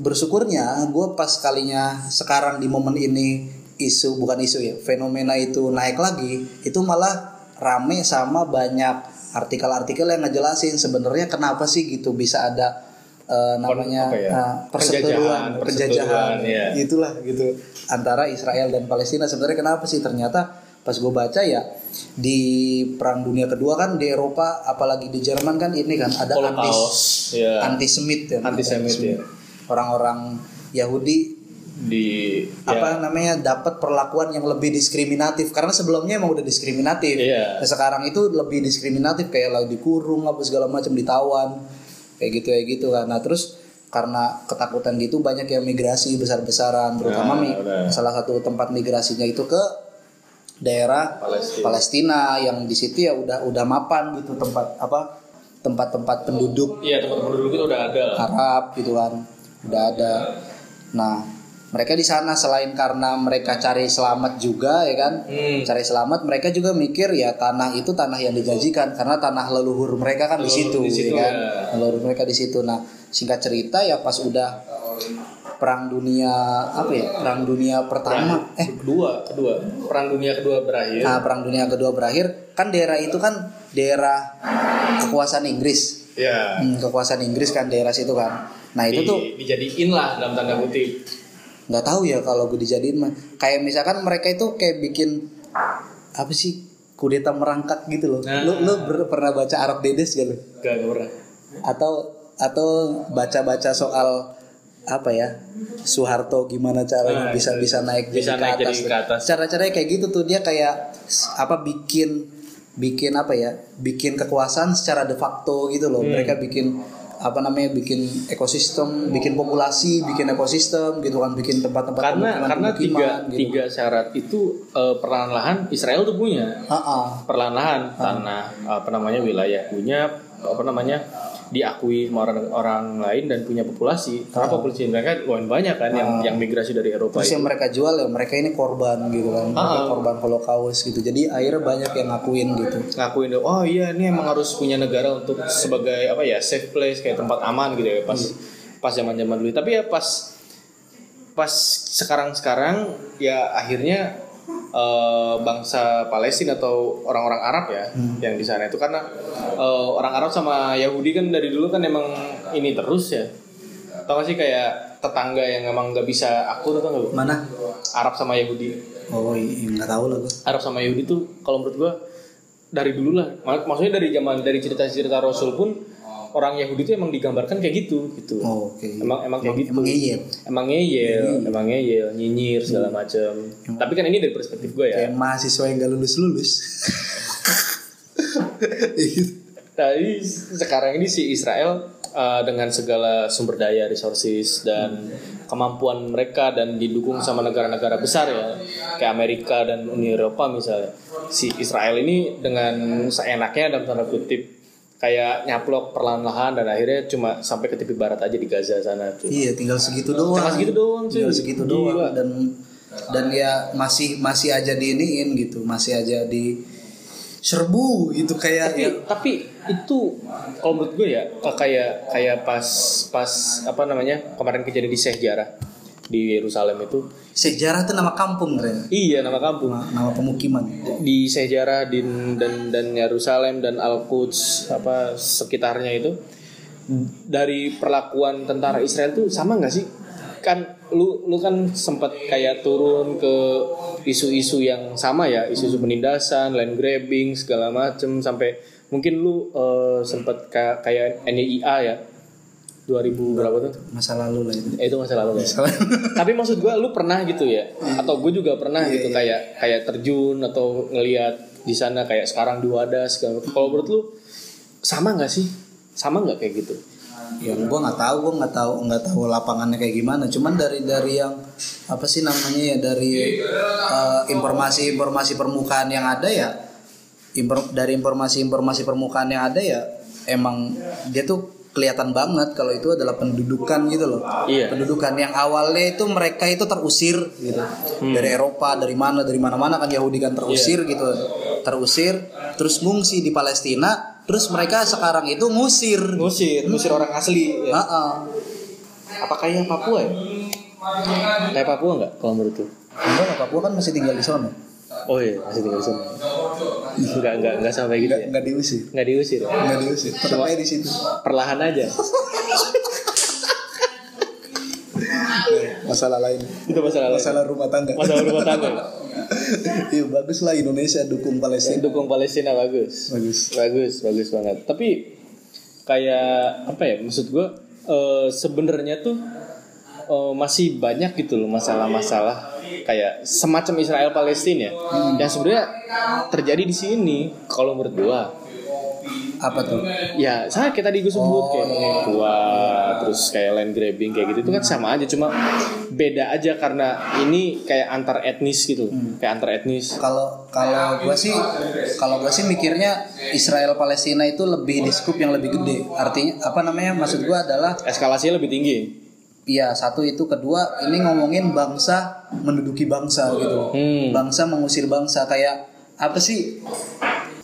[SPEAKER 1] bersyukurnya gue pas kalinya sekarang di momen ini isu bukan isu ya fenomena itu naik lagi itu malah rame sama banyak artikel-artikel yang ngejelasin sebenarnya kenapa sih gitu bisa ada eh, namanya
[SPEAKER 2] apa ya?
[SPEAKER 1] eh, perseteruan
[SPEAKER 2] Penjajahan,
[SPEAKER 1] penjajahan
[SPEAKER 2] perseteruan, ya.
[SPEAKER 1] itulah gitu antara Israel dan Palestina sebenarnya kenapa sih ternyata pas gue baca ya di perang dunia kedua kan di Eropa apalagi di Jerman kan ini kan ada antis
[SPEAKER 2] Holocaust ya
[SPEAKER 1] antisemit ya
[SPEAKER 2] Antisemit, ya.
[SPEAKER 1] orang-orang Yahudi
[SPEAKER 2] di Iya. ya,
[SPEAKER 1] apa namanya dapat perlakuan yang lebih diskriminatif karena sebelumnya emang udah diskriminatif
[SPEAKER 2] Iya.
[SPEAKER 1] Nah, sekarang itu lebih diskriminatif kayak lagi dikurung apa segala macam ditawan kayak gitu ya gitu kan nah terus karena ketakutan gitu banyak yang migrasi besar-besaran terutama
[SPEAKER 2] Nah,
[SPEAKER 1] mi-
[SPEAKER 2] udah.
[SPEAKER 1] salah satu tempat migrasinya itu ke daerah
[SPEAKER 2] Palestina.
[SPEAKER 1] Palestina yang di situ ya udah udah mapan gitu tempat apa tempat-tempat penduduk
[SPEAKER 2] ya teman-teman dulu itu udah ada lah.
[SPEAKER 1] Arab gitu kan udah ada nah mereka di sana selain karena mereka cari selamat juga ya kan
[SPEAKER 2] Hmm.
[SPEAKER 1] cari selamat mereka juga mikir ya tanah itu tanah yang digajikan karena tanah leluhur mereka kan di situ,
[SPEAKER 2] Leluhur di situ,
[SPEAKER 1] ya kan
[SPEAKER 2] ya.
[SPEAKER 1] leluhur mereka di situ nah singkat cerita ya pas udah perang dunia apa ya perang dunia pertama eh
[SPEAKER 2] kedua kedua perang dunia kedua berakhir
[SPEAKER 1] nah perang dunia kedua berakhir kan daerah itu kan daerah kekuasaan Inggris
[SPEAKER 2] ya
[SPEAKER 1] Hmm, kekuasaan Inggris kan daerah situ kan nah itu
[SPEAKER 2] di-
[SPEAKER 1] tuh
[SPEAKER 2] dijadiin lah dalam tanda kutip
[SPEAKER 1] nggak tahu ya kalau gue dijadiin mah kayak misalkan mereka itu kayak bikin apa sih kudeta merangkak gitu loh
[SPEAKER 2] Nah.
[SPEAKER 1] lu lu ber- pernah baca Arab Dedes gitu? gak lu
[SPEAKER 2] gak, gak pernah
[SPEAKER 1] atau atau baca-baca soal apa ya Soeharto gimana caranya
[SPEAKER 2] Nah,
[SPEAKER 1] bisa bisa naik
[SPEAKER 2] Bisa naik jadi ke atas.
[SPEAKER 1] cara-caranya kayak gitu tuh dia kayak s- apa bikin bikin apa ya bikin kekuasaan secara de facto gitu
[SPEAKER 2] Hmm.
[SPEAKER 1] loh mereka bikin apa namanya bikin ekosistem bikin populasi bikin ekosistem gitu kan bikin tempat-tempat
[SPEAKER 2] karena
[SPEAKER 1] pemukiman-
[SPEAKER 2] karena tiga
[SPEAKER 1] pemukiman gitu.
[SPEAKER 2] tiga syarat itu eh, perlahan-lahan Israel tuh punya
[SPEAKER 1] Ha-ha. Ah.
[SPEAKER 2] perlahan-lahan tanah apa namanya wilayah punya apa namanya diakui sama orang orang lain dan punya populasi karena
[SPEAKER 1] Ah.
[SPEAKER 2] populasi mereka lumayan banyak kan yang
[SPEAKER 1] Ah.
[SPEAKER 2] yang migrasi dari Eropa
[SPEAKER 1] Terus
[SPEAKER 2] itu.
[SPEAKER 1] yang mereka jual ya mereka ini korban gitu kan, mereka
[SPEAKER 2] Ah.
[SPEAKER 1] korban holocaust gitu. Jadi akhirnya banyak yang ngakuin gitu.
[SPEAKER 2] ngakuin oh iya ini emang harus punya negara untuk sebagai apa ya safe place kayak tempat aman gitu ya pas pas zaman zaman dulu tapi ya pas pas sekarang sekarang ya akhirnya eh, bangsa Palestina atau orang-orang Arab ya yang di sana itu karena eh, orang Arab sama Yahudi kan dari dulu kan emang ini terus ya tau gak sih kayak tetangga yang emang gak bisa akur tuh nggak
[SPEAKER 1] Mana?
[SPEAKER 2] Arab sama Yahudi
[SPEAKER 1] Oh, iya, nggak tahu lah gue.
[SPEAKER 2] Arab sama Yahudi tuh kalau menurut gua dari dulu lah Mak- maksudnya dari zaman dari cerita-cerita Rasul pun orang Yahudi tuh emang digambarkan kayak gitu gitu
[SPEAKER 1] Oh, oke.
[SPEAKER 2] emang emang kayak gitu
[SPEAKER 1] Emang iya.
[SPEAKER 2] emang ngeyel emang ngeyel nyinyir segala macem tapi kan ini dari perspektif gua ya
[SPEAKER 1] Kayak mahasiswa yang gak lulus lulus.
[SPEAKER 2] Tapi sekarang ini si Israel uh, dengan segala sumber daya, resources dan kemampuan mereka dan didukung sama negara-negara besar ya, kayak Amerika dan Uni Eropa misalnya. Si Israel ini dengan seenaknya dalam tanda kutip kayak nyaplok perlahan-lahan dan akhirnya cuma sampai ke tepi barat aja di Gaza sana tuh.
[SPEAKER 1] iya, tinggal segitu doang.
[SPEAKER 2] Tinggal segitu doang, cuy.
[SPEAKER 1] Tinggal segitu
[SPEAKER 2] Gila.
[SPEAKER 1] doang dan dan ya masih masih aja diiniin gitu, masih aja di serbu gitu kayak
[SPEAKER 2] tapi
[SPEAKER 1] ya,
[SPEAKER 2] tapi itu kalau menurut gue ya eh, kayak kayak pas pas apa namanya kemarin kejadian di Syekh Jarrah di Yerusalem itu
[SPEAKER 1] sejarah tuh nama kampung Ren.
[SPEAKER 2] iya nama kampung
[SPEAKER 1] Nama, nama pemukiman.
[SPEAKER 2] di sejarah di dan dan Yerusalem dan Al Quds apa sekitarnya itu dari perlakuan tentara Israel tuh sama nggak sih kan lu lu kan sempat kayak turun ke isu-isu yang sama ya isu-isu penindasan land grabbing segala macem sampai mungkin lu eh, sempat ka- kayak NIA ya 2000 berapa tuh
[SPEAKER 1] Masa lalu lah itu.
[SPEAKER 2] Eh, itu masa lalu ya
[SPEAKER 1] Masa
[SPEAKER 2] [laughs]
[SPEAKER 1] lalu.
[SPEAKER 2] tapi maksud gue lu pernah gitu ya atau gue juga pernah gitu kayak kayak terjun atau ngelihat di sana kayak sekarang di wadah segala macam. kalau menurut lu sama nggak sih sama nggak kayak gitu
[SPEAKER 1] ya gue nggak tahu gue nggak tahu nggak tahu lapangannya kayak gimana cuman dari dari yang apa sih namanya ya dari eh, informasi-informasi permukaan yang ada ya infor- dari informasi-informasi permukaan yang ada ya emang dia tuh kelihatan banget kalau itu adalah pendudukan gitu loh
[SPEAKER 2] Iya.
[SPEAKER 1] pendudukan yang awalnya itu mereka itu terusir gitu dari Eropa dari mana dari mana mana kan Yahudi kan terusir gitu terusir terus ngungsi di Palestina terus mereka sekarang itu ngusir
[SPEAKER 2] ngusir ngusir orang asli iya.
[SPEAKER 1] Heeh.
[SPEAKER 2] apa kayak Papua ya kayak Papua nggak kalau menurut lu
[SPEAKER 1] Enggak, lah, Papua kan masih tinggal di sana.
[SPEAKER 2] oh iya masih tinggal di sana nggak nggak nggak sampai gitu ya
[SPEAKER 1] Enggak diusir.
[SPEAKER 2] nggak diusir
[SPEAKER 1] Enggak diusir. Tetap aja di situ.
[SPEAKER 2] perlahan aja
[SPEAKER 1] Masalah lain.
[SPEAKER 2] itu masalah lain.
[SPEAKER 1] Masalah rumah tangga.
[SPEAKER 2] masalah rumah tangga
[SPEAKER 1] [laughs]
[SPEAKER 2] ya?
[SPEAKER 1] Iya, bagus lah Indonesia dukung Palestina.
[SPEAKER 2] dukung Palestina bagus
[SPEAKER 1] Bagus.
[SPEAKER 2] bagus bagus banget tapi kayak apa ya maksud gue sebenarnya tuh eh, masih banyak gitu loh masalah-masalah kayak semacam Israel Palestina ya.
[SPEAKER 1] Hmm.
[SPEAKER 2] yang sebenarnya terjadi di sini kalau menurut gue
[SPEAKER 1] Apa tuh?
[SPEAKER 2] ya sama kayak tadi gue sebut
[SPEAKER 1] Oh.
[SPEAKER 2] kayak kuat terus kayak land grabbing kayak gitu itu kan sama aja cuma beda aja karena ini kayak antar etnis gitu
[SPEAKER 1] Hmm.
[SPEAKER 2] kayak antar etnis
[SPEAKER 1] Kalau kalau gua sih kalau gua sih mikirnya Israel Palestina itu lebih di scoop yang lebih gede. Artinya apa namanya? Maksud gua adalah
[SPEAKER 2] eskalasinya lebih tinggi
[SPEAKER 1] Iya satu itu kedua ini ngomongin bangsa menduduki bangsa gitu
[SPEAKER 2] Hmm.
[SPEAKER 1] bangsa mengusir bangsa kayak apa sih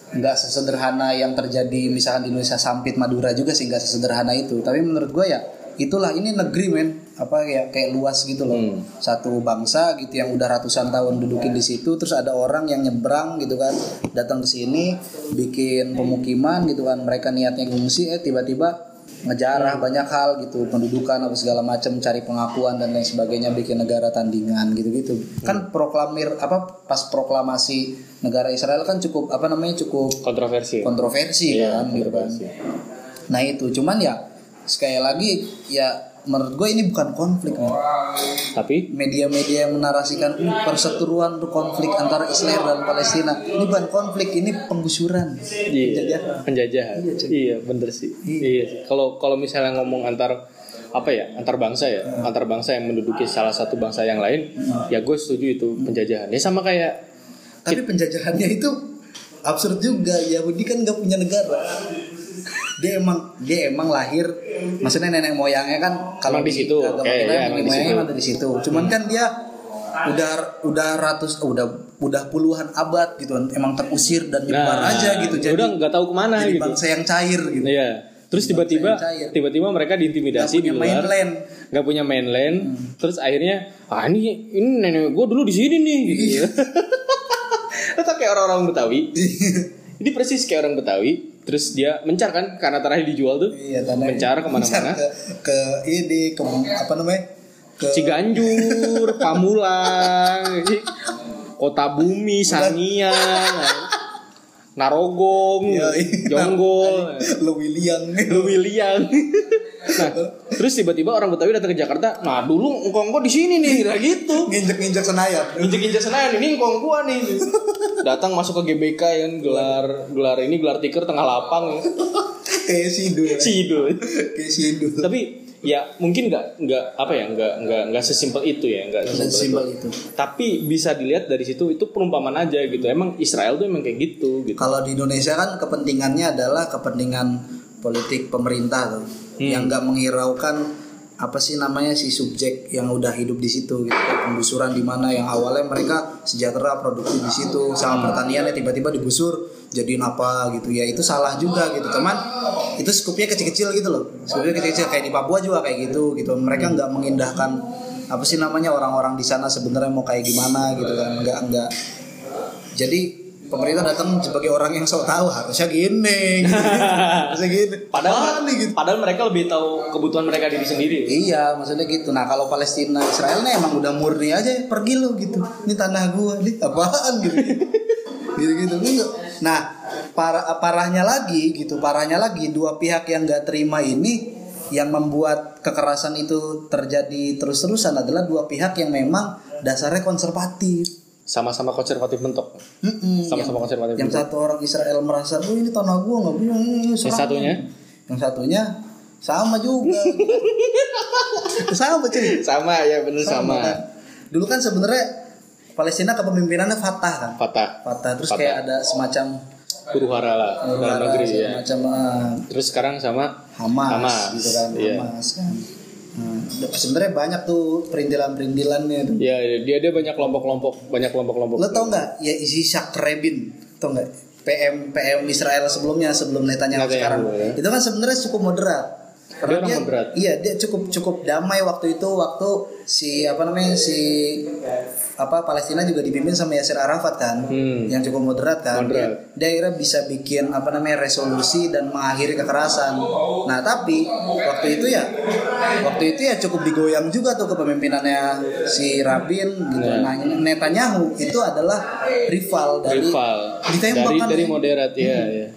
[SPEAKER 1] nggak sesederhana yang terjadi misalkan di Indonesia sampit Madura juga sih nggak sesederhana itu tapi menurut gue ya itulah ini negeri men apa ya kayak luas gitu loh
[SPEAKER 2] Hmm.
[SPEAKER 1] satu bangsa gitu yang udah ratusan tahun dudukin di situ terus ada orang yang nyebrang gitu kan datang ke sini bikin pemukiman gitu kan mereka niatnya ngungsi eh tiba-tiba ngejarah banyak hal gitu pendudukan apa segala macam cari pengakuan dan lain sebagainya bikin negara tandingan gitu-gitu kan proklamir apa pas proklamasi negara Israel kan cukup apa namanya cukup
[SPEAKER 2] kontroversi
[SPEAKER 1] kontroversi
[SPEAKER 2] Iya,
[SPEAKER 1] kan gitu kan.
[SPEAKER 2] kontroversi.
[SPEAKER 1] Nah itu cuman ya sekali lagi ya menurut gue ini bukan konflik men.
[SPEAKER 2] tapi
[SPEAKER 1] media-media yang menarasikan "Uh, perseteruan tuh konflik antara Israel dan Palestina ini bukan konflik ini penggusuran
[SPEAKER 2] Iya,
[SPEAKER 1] Penjajahan.
[SPEAKER 2] penjajahan.
[SPEAKER 1] Iya,
[SPEAKER 2] Iya,
[SPEAKER 1] cuy.
[SPEAKER 2] bener sih. Iya. sih. Kalau kalau misalnya ngomong antar apa ya antar bangsa ya
[SPEAKER 1] Hmm.
[SPEAKER 2] antar bangsa yang menduduki salah satu bangsa yang lain ya gue setuju
[SPEAKER 1] Hmm.
[SPEAKER 2] itu penjajahan ya sama kayak
[SPEAKER 1] tapi penjajahannya itu absurd juga Yahudi kan nggak punya negara dia emang dia emang lahir maksudnya nenek moyangnya kan kalau
[SPEAKER 3] Emang di situ,
[SPEAKER 1] agama
[SPEAKER 3] oke,
[SPEAKER 1] kita
[SPEAKER 3] ya,
[SPEAKER 1] nenek
[SPEAKER 3] emang di
[SPEAKER 1] moyangnya
[SPEAKER 3] situ.
[SPEAKER 1] emang dari situ cuman kan dia udah udah ratus oh, udah udah puluhan abad gitu kan. emang terusir dan nyebar
[SPEAKER 3] Nah,
[SPEAKER 1] aja gitu jadi
[SPEAKER 2] nah, udah nggak tahu kemana
[SPEAKER 1] jadi
[SPEAKER 2] gitu
[SPEAKER 1] bangsa yang cair gitu
[SPEAKER 2] Iya. Terus tiba-tiba
[SPEAKER 1] yang cair.
[SPEAKER 2] tiba-tiba mereka
[SPEAKER 1] nggak
[SPEAKER 2] diintimidasi di
[SPEAKER 1] punya
[SPEAKER 2] luar,
[SPEAKER 1] mainland [laughs] Hmm.
[SPEAKER 2] nggak punya mainland. Terus akhirnya ah ini ini nenek gue dulu di sini nih.
[SPEAKER 1] Iya.
[SPEAKER 2] Gitu. Atau kayak orang-orang Betawi. Ini persis kayak orang Betawi. Terus dia mencar kan karena terakhir dijual tuh.
[SPEAKER 1] iya tanah
[SPEAKER 2] Mencar
[SPEAKER 1] Mencar
[SPEAKER 2] kemana-mana.
[SPEAKER 1] ke, ke ini ke apa namanya ke
[SPEAKER 2] Ciganjur, Pamulang, Kota Bumi, Sangiang, Narogong,
[SPEAKER 1] Yoi. [laughs]
[SPEAKER 2] Jonggol.
[SPEAKER 1] Iya. Lewiliang
[SPEAKER 2] William. nah, terus tiba-tiba orang Betawi datang ke Jakarta. Nah, dulu engkong gua di sini nih, kira gitu.
[SPEAKER 1] nginjek-nginjek Senayan [laughs]
[SPEAKER 2] Injek-injek Senayan ini engkong gua nih. Datang masuk ke GBK yang gelar gelar ini gelar tikar tengah lapang.
[SPEAKER 1] kayak sidul
[SPEAKER 2] Cidul.
[SPEAKER 1] kayak sidul
[SPEAKER 2] Tapi ya mungkin nggak nggak apa ya nggak nggak nggak sesimpel itu ya nggak sesimpel itu.
[SPEAKER 1] simbol itu
[SPEAKER 2] tapi bisa dilihat dari situ itu perumpamaan aja gitu emang Israel tuh emang kayak gitu gitu
[SPEAKER 1] kalau di Indonesia kan kepentingannya adalah kepentingan politik pemerintah tuh yang nggak menghiraukan apa sih namanya si subjek yang udah hidup di situ gitu penggusuran di mana yang awalnya mereka sejahtera produktif di situ sama pertaniannya tiba-tiba digusur jadiin apa gitu ya itu salah juga gitu teman itu skupnya kecil-kecil gitu loh skupnya kecil-kecil kayak di Papua juga kayak gitu gitu mereka nggak mengindahkan apa sih namanya orang-orang di sana sebenarnya mau kayak gimana gitu kan nggak nggak jadi pemerintah datang sebagai orang yang sok tahu harusnya gini, gitu. harusnya gini.
[SPEAKER 2] padahal
[SPEAKER 1] Apaan nih, gitu.
[SPEAKER 2] padahal mereka lebih tahu kebutuhan mereka diri sendiri
[SPEAKER 1] Iya, maksudnya gitu. Nah, kalau Palestina Israel nih emang udah murni aja pergi lu gitu. Ini tanah gua, ini apaan gitu. [laughs] Gitu-gitu. Enggak. Nah, para- parahnya lagi gitu, parahnya lagi dua pihak yang gak terima ini yang membuat kekerasan itu terjadi terus-terusan adalah dua pihak yang memang dasarnya konservatif.
[SPEAKER 2] sama-sama konservatif mentok
[SPEAKER 1] Mm-mm,
[SPEAKER 2] Sama-sama
[SPEAKER 1] yang-
[SPEAKER 2] konservatif
[SPEAKER 1] Yang
[SPEAKER 2] juga.
[SPEAKER 1] satu orang Israel merasa, oh ini tanah gua nggak punya. ini serang."
[SPEAKER 2] Yang satunya?
[SPEAKER 1] Yang satunya sama
[SPEAKER 2] [laughs]
[SPEAKER 1] juga. sama cuy.
[SPEAKER 2] sama ya bener sama,
[SPEAKER 1] kan? Dulu kan sebenarnya Palestina kepemimpinannya Fatah kan.
[SPEAKER 2] Fatah
[SPEAKER 1] Fatah terus
[SPEAKER 2] Fatah.
[SPEAKER 1] kayak ada semacam
[SPEAKER 2] huru hara lah dalam negeri ya
[SPEAKER 1] macam
[SPEAKER 2] terus sekarang sama
[SPEAKER 1] eh, Hamas,
[SPEAKER 2] Hamas,
[SPEAKER 1] gitu kan.
[SPEAKER 2] iya.
[SPEAKER 1] Hamas kan. Nah, sebenarnya banyak tuh perintilan-perintilannya tuh.
[SPEAKER 2] ya dia dia banyak kelompok-kelompok banyak kelompok-kelompok
[SPEAKER 1] Lo tau nggak ya Ishak Rabin tau nggak PM PM Israel sebelumnya sebelum Netanyahu
[SPEAKER 2] Netanyahu,
[SPEAKER 1] sekarang
[SPEAKER 2] ya.
[SPEAKER 1] itu kan sebenarnya cukup moderat
[SPEAKER 2] Dia orang moderat.
[SPEAKER 1] iya dia cukup cukup damai waktu itu waktu si apa namanya si apa Palestina juga dipimpin sama Yasir Arafat kan
[SPEAKER 2] Hmm.
[SPEAKER 1] yang cukup moderat kan Dia,
[SPEAKER 2] Moderat.
[SPEAKER 1] dia akhirnya bisa bikin apa namanya resolusi dan mengakhiri kekerasan nah tapi waktu itu ya waktu itu ya cukup digoyang juga tuh kepemimpinannya si Rabin gitu
[SPEAKER 2] Iya.
[SPEAKER 1] nah Netanyahu itu adalah rival dari
[SPEAKER 2] rival
[SPEAKER 1] ditembak
[SPEAKER 2] dari
[SPEAKER 1] kan
[SPEAKER 2] dari moderat ya ya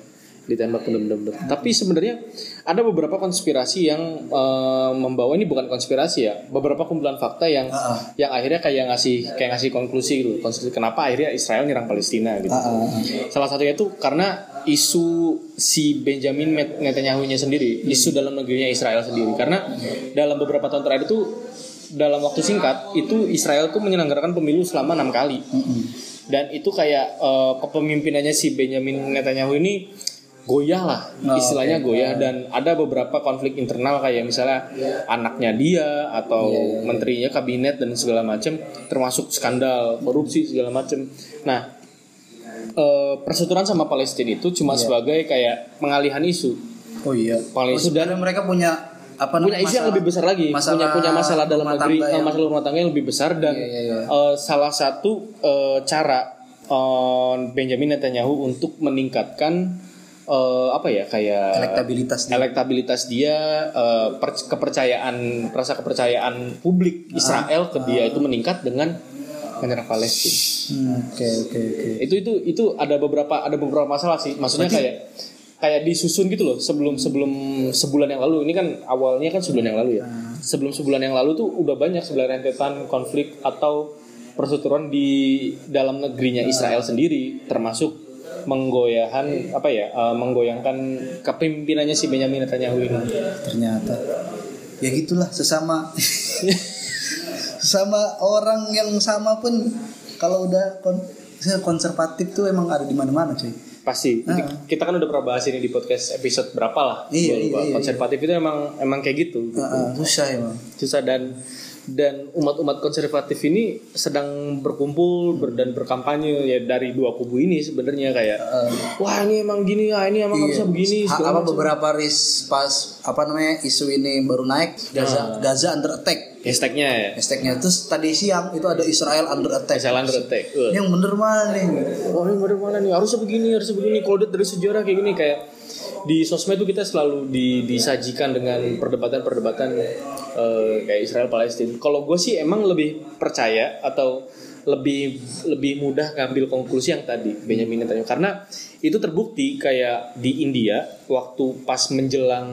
[SPEAKER 2] ditembak bener-bener tapi sebenarnya ada beberapa konspirasi yang eh, membawa ini bukan konspirasi ya beberapa kumpulan fakta yang
[SPEAKER 1] Ah, ah.
[SPEAKER 2] yang akhirnya kayak ngasih kayak ngasih konklusi gitu Konstruksi kenapa akhirnya Israel nyerang Palestina gitu
[SPEAKER 1] Ah, ah.
[SPEAKER 2] salah satunya itu karena isu si Benjamin Met- Netanyahu-nya sendiri, isu dalam negerinya Israel sendiri. Karena dalam beberapa tahun terakhir itu dalam waktu singkat itu Israel tuh menyelenggarakan pemilu selama enam kali. Dan itu kayak eh, kepemimpinannya si Benjamin Netanyahu ini goyah lah,
[SPEAKER 1] Oh,
[SPEAKER 2] istilahnya
[SPEAKER 1] oke.
[SPEAKER 2] goyah dan ada beberapa konflik internal kayak misalnya anaknya dia
[SPEAKER 1] Iya,
[SPEAKER 2] atau menterinya kabinet dan segala macam termasuk skandal korupsi segala macam. Nah, eh, persetujuan sama Palestina itu cuma sebagai kayak pengalihan isu.
[SPEAKER 1] oh iya Oh,
[SPEAKER 2] Paling
[SPEAKER 1] sebenarnya mereka punya apa
[SPEAKER 2] Punya
[SPEAKER 1] namanya
[SPEAKER 2] isu yang lebih besar lagi, punya punya masalah dalam
[SPEAKER 1] rumah
[SPEAKER 2] negeri,
[SPEAKER 1] tangga
[SPEAKER 2] eh,
[SPEAKER 1] yang-
[SPEAKER 2] masalah rumah tangga yang lebih besar dan
[SPEAKER 1] Iya, iya, iya.
[SPEAKER 2] eh, salah satu eh, cara eh, Benjamin Netanyahu untuk meningkatkan eh, apa ya kayak
[SPEAKER 1] elektabilitas dia.
[SPEAKER 2] elektabilitas dia eh, per- kepercayaan rasa kepercayaan publik
[SPEAKER 1] Ah,
[SPEAKER 2] Israel ke dia itu meningkat dengan menyerang Palestina.
[SPEAKER 1] Hmm, oke oke oke
[SPEAKER 2] itu itu itu ada beberapa ada beberapa masalah sih maksudnya kayak kayak disusun gitu loh sebelum sebelum sebulan yang lalu ini kan awalnya kan sebulan yang lalu ya
[SPEAKER 1] Hmm.
[SPEAKER 2] sebelum sebulan yang lalu tuh udah banyak sebenarnya rentetan konflik atau perseteruan di dalam negerinya
[SPEAKER 1] Hmm.
[SPEAKER 2] Israel sendiri termasuk
[SPEAKER 1] Hmm.
[SPEAKER 2] menggoyahan apa ya eh, menggoyangkan kepemimpinannya si Benjamin Netanyahu ini
[SPEAKER 1] ternyata ya gitulah
[SPEAKER 2] [laughs]
[SPEAKER 1] sesama sesama orang yang sama pun kalau udah kon- konservatif tuh emang ada di mana-mana cuy
[SPEAKER 2] pasti
[SPEAKER 1] Ah.
[SPEAKER 2] kita kan udah pernah bahas ini di podcast episode berapa lah
[SPEAKER 1] Iya,
[SPEAKER 2] Gua lupa.
[SPEAKER 1] iya, iya,
[SPEAKER 2] konservatif itu emang emang kayak gitu
[SPEAKER 1] Ah, ah, susah emang
[SPEAKER 2] susah dan dan umat-umat konservatif ini sedang berkumpul ber- dan berkampanye ya dari dua kubu ini sebenarnya kayak
[SPEAKER 1] Ah.
[SPEAKER 2] wah ini emang gini ya ini emang harusnya begini
[SPEAKER 1] Iya. Ha-
[SPEAKER 2] segala
[SPEAKER 1] apa
[SPEAKER 2] macam.
[SPEAKER 1] beberapa ris pas apa namanya isu ini baru naik
[SPEAKER 2] Ah.
[SPEAKER 1] Gaza Gaza under attack
[SPEAKER 2] hashtagnya ya
[SPEAKER 1] hashtagnya terus tadi siang itu ada Israel under attack
[SPEAKER 2] jalan retek
[SPEAKER 1] Ini yang bener mana nih
[SPEAKER 2] wah ini bener mana nih harusnya begini harusnya begini kalau dari sejarah kayak gini kayak di sosmed tuh kita selalu di- disajikan dengan perdebatan-perdebatan eh, kayak Israel Palestina. Kalau gue sih emang lebih percaya atau lebih lebih mudah ngambil konklusi yang tadi Benjamin Netanyahu karena itu terbukti kayak di India waktu pas menjelang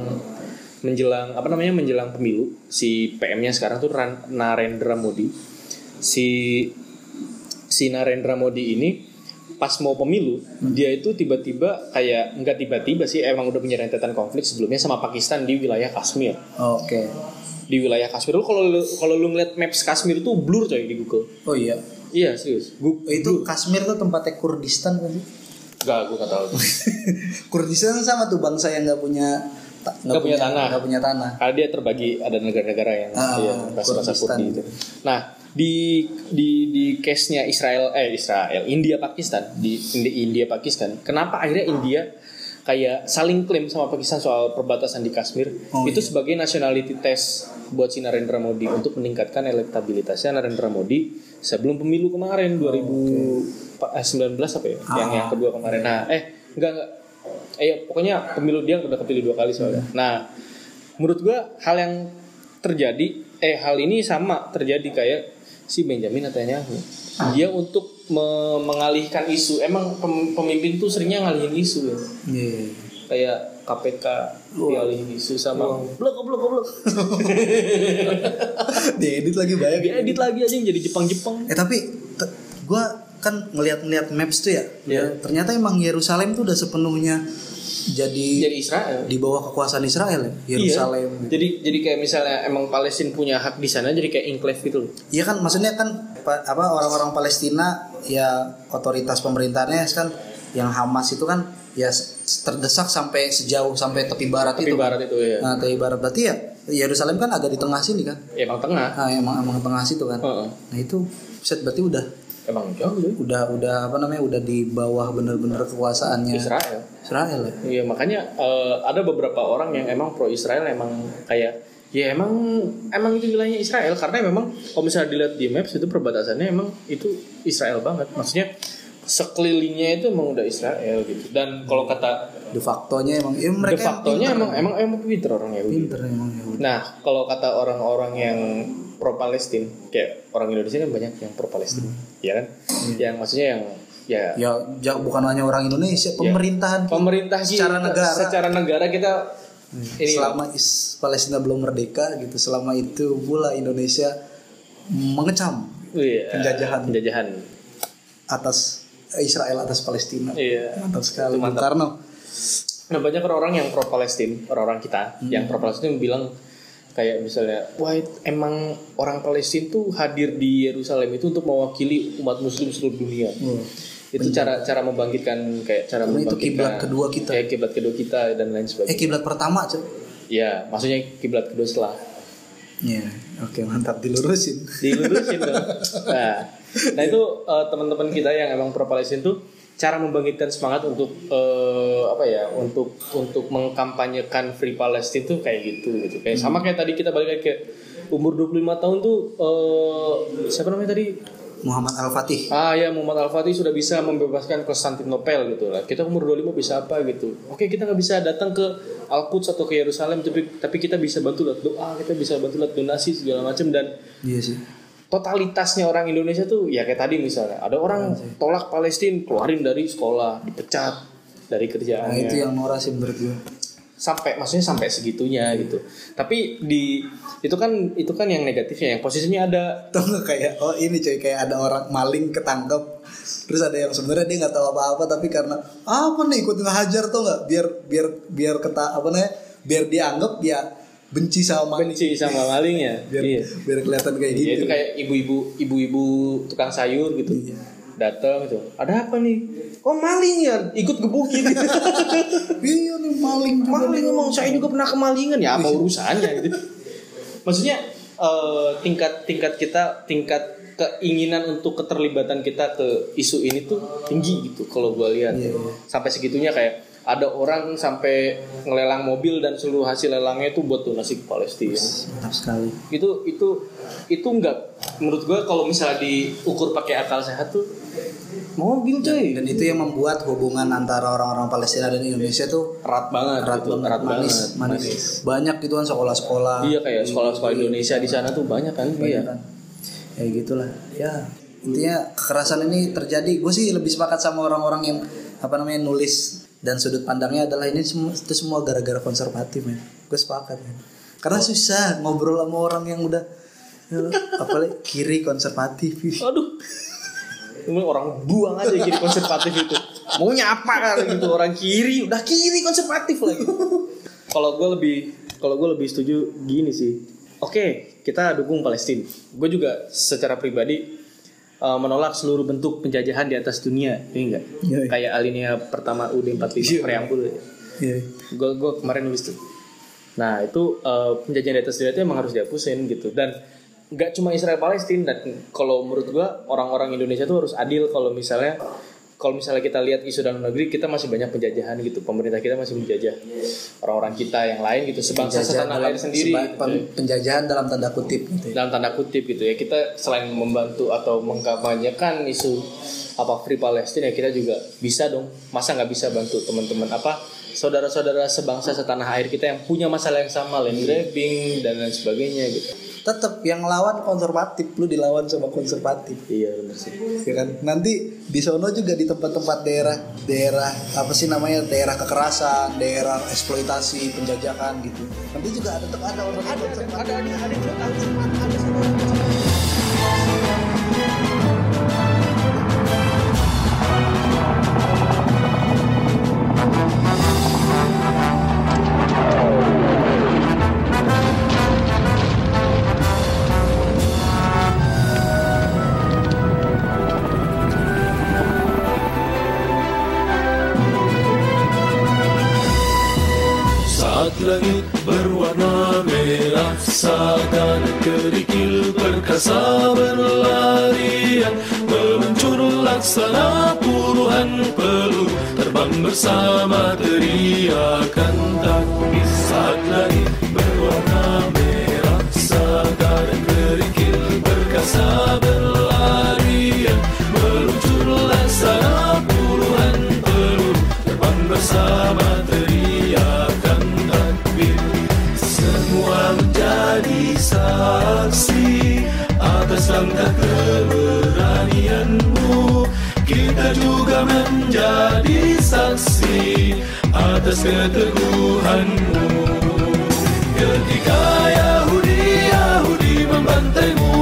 [SPEAKER 2] menjelang apa namanya menjelang pemilu si PM-nya sekarang tuh Ran- Narendra Modi si si Narendra Modi ini pas mau pemilu dia itu tiba-tiba kayak nggak tiba-tiba sih emang udah punya rentetan konflik sebelumnya sama Pakistan di wilayah Kashmir
[SPEAKER 1] oke
[SPEAKER 2] di wilayah Kashmir lu kalau lu- kalau lu ngeliat maps Kashmir itu blur coy di Google
[SPEAKER 1] oh iya
[SPEAKER 2] iya serius
[SPEAKER 1] Gu- itu Kashmir tuh tempatnya Kurdistan kan sih?
[SPEAKER 2] nggak gue nggak tahu
[SPEAKER 1] [laughs] Kurdistan sama tuh bangsa yang nggak punya ta-
[SPEAKER 2] Nggak punya tanah.
[SPEAKER 1] nggak punya tanah
[SPEAKER 2] karena dia terbagi ada negara-negara yang
[SPEAKER 1] Nah. Ah,
[SPEAKER 2] iya, bahasa-bahasa
[SPEAKER 1] Kurdistan.
[SPEAKER 2] Kurdi itu. Nah di di di case nya Israel eh Israel India Pakistan di Indi- India Pakistan kenapa akhirnya India kayak saling klaim sama Pakistan soal perbatasan di Kashmir
[SPEAKER 1] Oh,
[SPEAKER 2] itu sebagai nationality test buat si Narendra Modi untuk meningkatkan elektabilitasnya Narendra Modi sebelum pemilu kemarin
[SPEAKER 1] Oh,
[SPEAKER 2] 2019 apa ya yang yang kedua kemarin nah eh enggak enggak eh ya, pokoknya pemilu dia udah kepilih dua kali soalnya nah menurut gua hal yang terjadi eh hal ini sama terjadi kayak si Benjamin Netanyahu dia untuk me- mengalihkan isu emang pem- pemimpin tuh seringnya ngalihin isu ya
[SPEAKER 1] Iya. [laughs]
[SPEAKER 2] kayak KPK dialihin isu sama blok blok [laughs] blok
[SPEAKER 1] diedit lagi banyak ya.
[SPEAKER 2] edit lagi aja jadi Jepang Jepang
[SPEAKER 1] Eh tapi te- gua kan ngelihat-ngelihat maps tuh ya.
[SPEAKER 2] Iya.
[SPEAKER 1] Ternyata emang Yerusalem tuh udah sepenuhnya jadi
[SPEAKER 2] jadi Israel
[SPEAKER 1] di bawah kekuasaan Israel ya. Yerusalem.
[SPEAKER 2] Iya. Jadi jadi kayak misalnya emang Palestina punya hak di sana jadi kayak enclave gitu loh.
[SPEAKER 1] Iya kan maksudnya kan pa- apa orang-orang Palestina ya otoritas pemerintahnya kan yang Hamas itu kan ya s- terdesak sampai sejauh sampai tepi barat
[SPEAKER 2] Tapi
[SPEAKER 1] itu. kan.
[SPEAKER 2] barat itu ya.
[SPEAKER 1] Nah, tepi barat berarti ya Yerusalem kan agak di tengah sini kan.
[SPEAKER 2] Ya, emang tengah.
[SPEAKER 1] Nah, emang emang tengah situ kan.
[SPEAKER 2] Heeh.
[SPEAKER 1] Nah, itu set berarti udah
[SPEAKER 2] Emang jauh ya.
[SPEAKER 1] udah udah apa namanya udah di bawah bener-bener kekuasaannya
[SPEAKER 2] Israel.
[SPEAKER 1] Israel ya?
[SPEAKER 2] Iya makanya eh, ada beberapa orang yang emang pro Israel emang kayak ya emang emang itu wilayahnya Israel karena memang kalau misalnya dilihat di maps itu perbatasannya emang itu Israel banget maksudnya sekelilingnya itu emang udah Israel gitu dan kalau kata
[SPEAKER 1] de facto-nya emang ya mereka
[SPEAKER 2] de facto-nya emang emang emang pinter orang Yahudi.
[SPEAKER 1] pinter emang ya Yahudi.
[SPEAKER 2] Nah, kalau kata orang-orang yang pro Palestin, kayak orang Indonesia kan banyak yang pro Palestin, ya kan? Yang maksudnya yang ya
[SPEAKER 1] ya jauh bukan hanya orang Indonesia pemerintahan
[SPEAKER 2] pemerintah sih
[SPEAKER 1] Secara negara.
[SPEAKER 2] secara negara kita ini
[SPEAKER 1] selama is Palestina belum merdeka gitu selama itu pula Indonesia mengecam
[SPEAKER 2] iya,
[SPEAKER 1] penjajahan.
[SPEAKER 2] penjajahan.
[SPEAKER 1] atas Israel atas Palestina
[SPEAKER 2] Iya.
[SPEAKER 1] mantap sekali
[SPEAKER 2] Itu
[SPEAKER 1] Bung
[SPEAKER 2] mantap.
[SPEAKER 1] Karno
[SPEAKER 2] Nah, banyak orang yang pro Palestin, orang-orang kita
[SPEAKER 1] Hmm.
[SPEAKER 2] yang pro Palestin bilang kayak misalnya, wah it- emang orang Palestin tuh hadir di Yerusalem itu untuk mewakili umat Muslim seluruh dunia. Itu cara cara membangkitkan kayak cara
[SPEAKER 1] Karena itu
[SPEAKER 2] membangkitkan
[SPEAKER 1] kiblat kedua kita.
[SPEAKER 2] kayak kiblat kedua kita dan lain sebagainya.
[SPEAKER 1] eh kiblat pertama cuy
[SPEAKER 2] Ya, maksudnya kiblat kedua setelah
[SPEAKER 1] Iya, oke mantap dilurusin
[SPEAKER 2] dilurusin dong. Nah, nah itu eh, teman-teman kita yang emang pro Palestina tuh cara membangkitkan semangat untuk eh, apa ya untuk untuk mengkampanyekan Free Palestine tuh kayak gitu gitu kayak sama kayak tadi kita balik lagi ke umur 25 tahun tuh eh, siapa namanya tadi
[SPEAKER 1] Muhammad Al Fatih
[SPEAKER 2] ah ya Muhammad Al Fatih sudah bisa membebaskan Konstantinopel gitu lah kita umur 25 bisa apa gitu oke kita nggak bisa datang ke Al Quds atau ke Yerusalem tapi tapi kita bisa bantu lewat doa kita bisa bantu lewat donasi segala macam dan
[SPEAKER 1] iya sih
[SPEAKER 2] totalitasnya orang Indonesia tuh ya kayak tadi misalnya ada orang tolak Palestina keluarin dari sekolah dipecat dari
[SPEAKER 1] nah
[SPEAKER 2] kerjaannya
[SPEAKER 1] itu yang norak sih menurut gue
[SPEAKER 2] sampai maksudnya sampai segitunya gitu tapi di itu kan itu kan yang negatifnya yang positifnya ada
[SPEAKER 1] Tau nggak kayak oh ini cuy kayak ada orang maling ketangkep terus ada yang sebenarnya dia nggak tahu apa-apa tapi karena "Ah, apa nih ikut ngehajar tuh nggak biar biar biar keta apa namanya biar dia anggap dia benci sama maling
[SPEAKER 2] benci sama malingnya
[SPEAKER 1] biar
[SPEAKER 2] iya
[SPEAKER 1] biar kelihatan kayak
[SPEAKER 2] Ya,
[SPEAKER 1] gitu
[SPEAKER 2] itu kayak ibu-ibu ibu-ibu tukang sayur gitu
[SPEAKER 1] Iya.
[SPEAKER 2] datang itu ada apa nih oh maling ya ikut gitu. gebukin [laughs]
[SPEAKER 1] Iya nih maling juga
[SPEAKER 2] maling
[SPEAKER 1] nih.
[SPEAKER 2] emang saya juga pernah kemalingan ya apa urusannya gitu maksudnya eh, tingkat tingkat kita tingkat keinginan untuk keterlibatan kita ke isu ini tuh tinggi gitu kalau gua lihat
[SPEAKER 1] Iya, iya.
[SPEAKER 2] sampai segitunya kayak ada orang sampai ngelelang mobil dan seluruh hasil lelangnya itu buat donasi ke Palestina
[SPEAKER 1] Mantap sekali.
[SPEAKER 2] itu itu itu nggak menurut gua kalau misalnya diukur pakai akal sehat tuh mobil coy
[SPEAKER 1] Dan itu yang membuat hubungan antara orang-orang Palestina dan Indonesia tuh
[SPEAKER 2] erat banget
[SPEAKER 1] erat
[SPEAKER 2] gitu,
[SPEAKER 1] banget,
[SPEAKER 2] erat
[SPEAKER 1] manis,
[SPEAKER 2] banget,
[SPEAKER 1] manis,
[SPEAKER 2] manis.
[SPEAKER 1] Banyak gitu kan sekolah-sekolah.
[SPEAKER 2] Iya kayak sekolah-sekolah Indonesia di sana tuh banyak kan
[SPEAKER 1] Banyak
[SPEAKER 2] iya.
[SPEAKER 1] kan. Ya gitulah. Ya intinya kekerasan ini terjadi. Gue sih lebih sepakat sama orang-orang yang apa namanya nulis dan sudut pandangnya adalah ini semua, itu semua gara-gara konservatif ya. Gue sepakat men. Karena susah ngobrol sama orang yang udah ya, apalagi kiri konservatif. Iya,
[SPEAKER 2] Aduh. Ini orang buang aja kiri konservatif itu. Maunya apa kan gitu orang kiri, udah kiri konservatif lagi. kalau gue lebih kalau gue lebih setuju gini sih. Oke, kita dukung Palestina. Gue juga secara pribadi eh, menolak seluruh bentuk penjajahan di atas dunia, ini enggak?
[SPEAKER 1] Iya.
[SPEAKER 2] Kayak alinea pertama UD 45 preambul.
[SPEAKER 1] Iya.
[SPEAKER 2] gue gue kemarin nulis tuh nah itu eh, penjajahan di atas dunia itu emang harus dihapusin gitu dan nggak cuma Israel Palestina dan kalau menurut gue orang-orang Indonesia tuh harus adil kalau misalnya kalau misalnya kita lihat isu dalam negeri kita masih banyak penjajahan gitu pemerintah kita masih menjajah orang-orang kita yang lain gitu sebangsa setanah air sendiri
[SPEAKER 1] seba-
[SPEAKER 2] gitu
[SPEAKER 1] pen- penjajahan dalam tanda kutip gitu. ya.
[SPEAKER 2] dalam tanda kutip gitu ya kita selain membantu atau mengkampanyekan isu apa free Palestina ya kita juga bisa dong masa nggak bisa bantu teman-teman apa saudara-saudara sebangsa setanah air kita yang punya masalah yang sama land grabbing dan lain sebagainya gitu
[SPEAKER 1] Tetap yang lawan konservatif lu dilawan sama konservatif.
[SPEAKER 2] iya benar sih
[SPEAKER 1] ya kan nanti di sono juga di tempat-tempat daerah daerah apa sih namanya daerah kekerasan daerah eksploitasi penjajahan gitu nanti juga ada tetap ada orang ada ada ada ada
[SPEAKER 4] Saat langit berwarna merah Seakan kerikil perkasa berlarian Meluncur laksana puluhan peluru Terbang bersama teriakan takbir Saat langit berwarna merah Seakan kerikil perkasa berlarian Meluncur laksana puluhan peluru Terbang bersama teriakan takbir Semua menjadi saksi Atas langkah keberanianmu Kita juga menjadi saksi Atas keteguhanmu Ketika Yahudi Yahudi membantaimu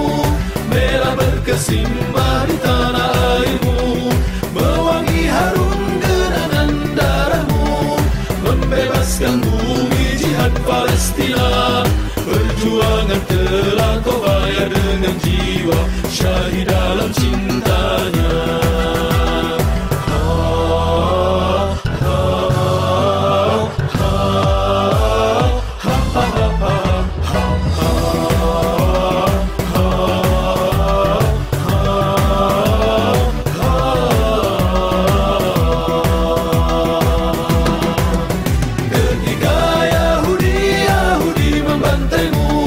[SPEAKER 4] Merah berkesimbah di tanah airmu Mewangi harum genangan darahmu Membebaskan bumi jihad Palestina Perjuangan telah kau bayar dengan jiwa Syahid dalam cintanya Ah, ah, ah. Ketika Yahudi Yahudi membantaimu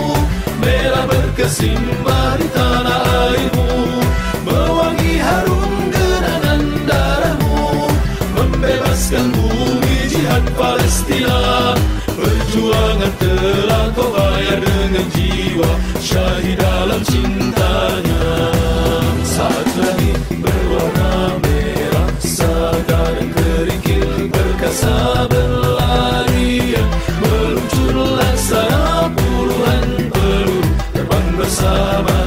[SPEAKER 4] Merah berkesimbah di tanah airmu Mewangi harum genangan darahmu Membebaskan bumi jihad Palestina Perjuangan telah kau bayar dengan jiwa Syahid dalam cintanya Saat langit berwarna merah Sadar kerikil perkasa berlarian Meluncur laksana puluhan peluru Terbang bersama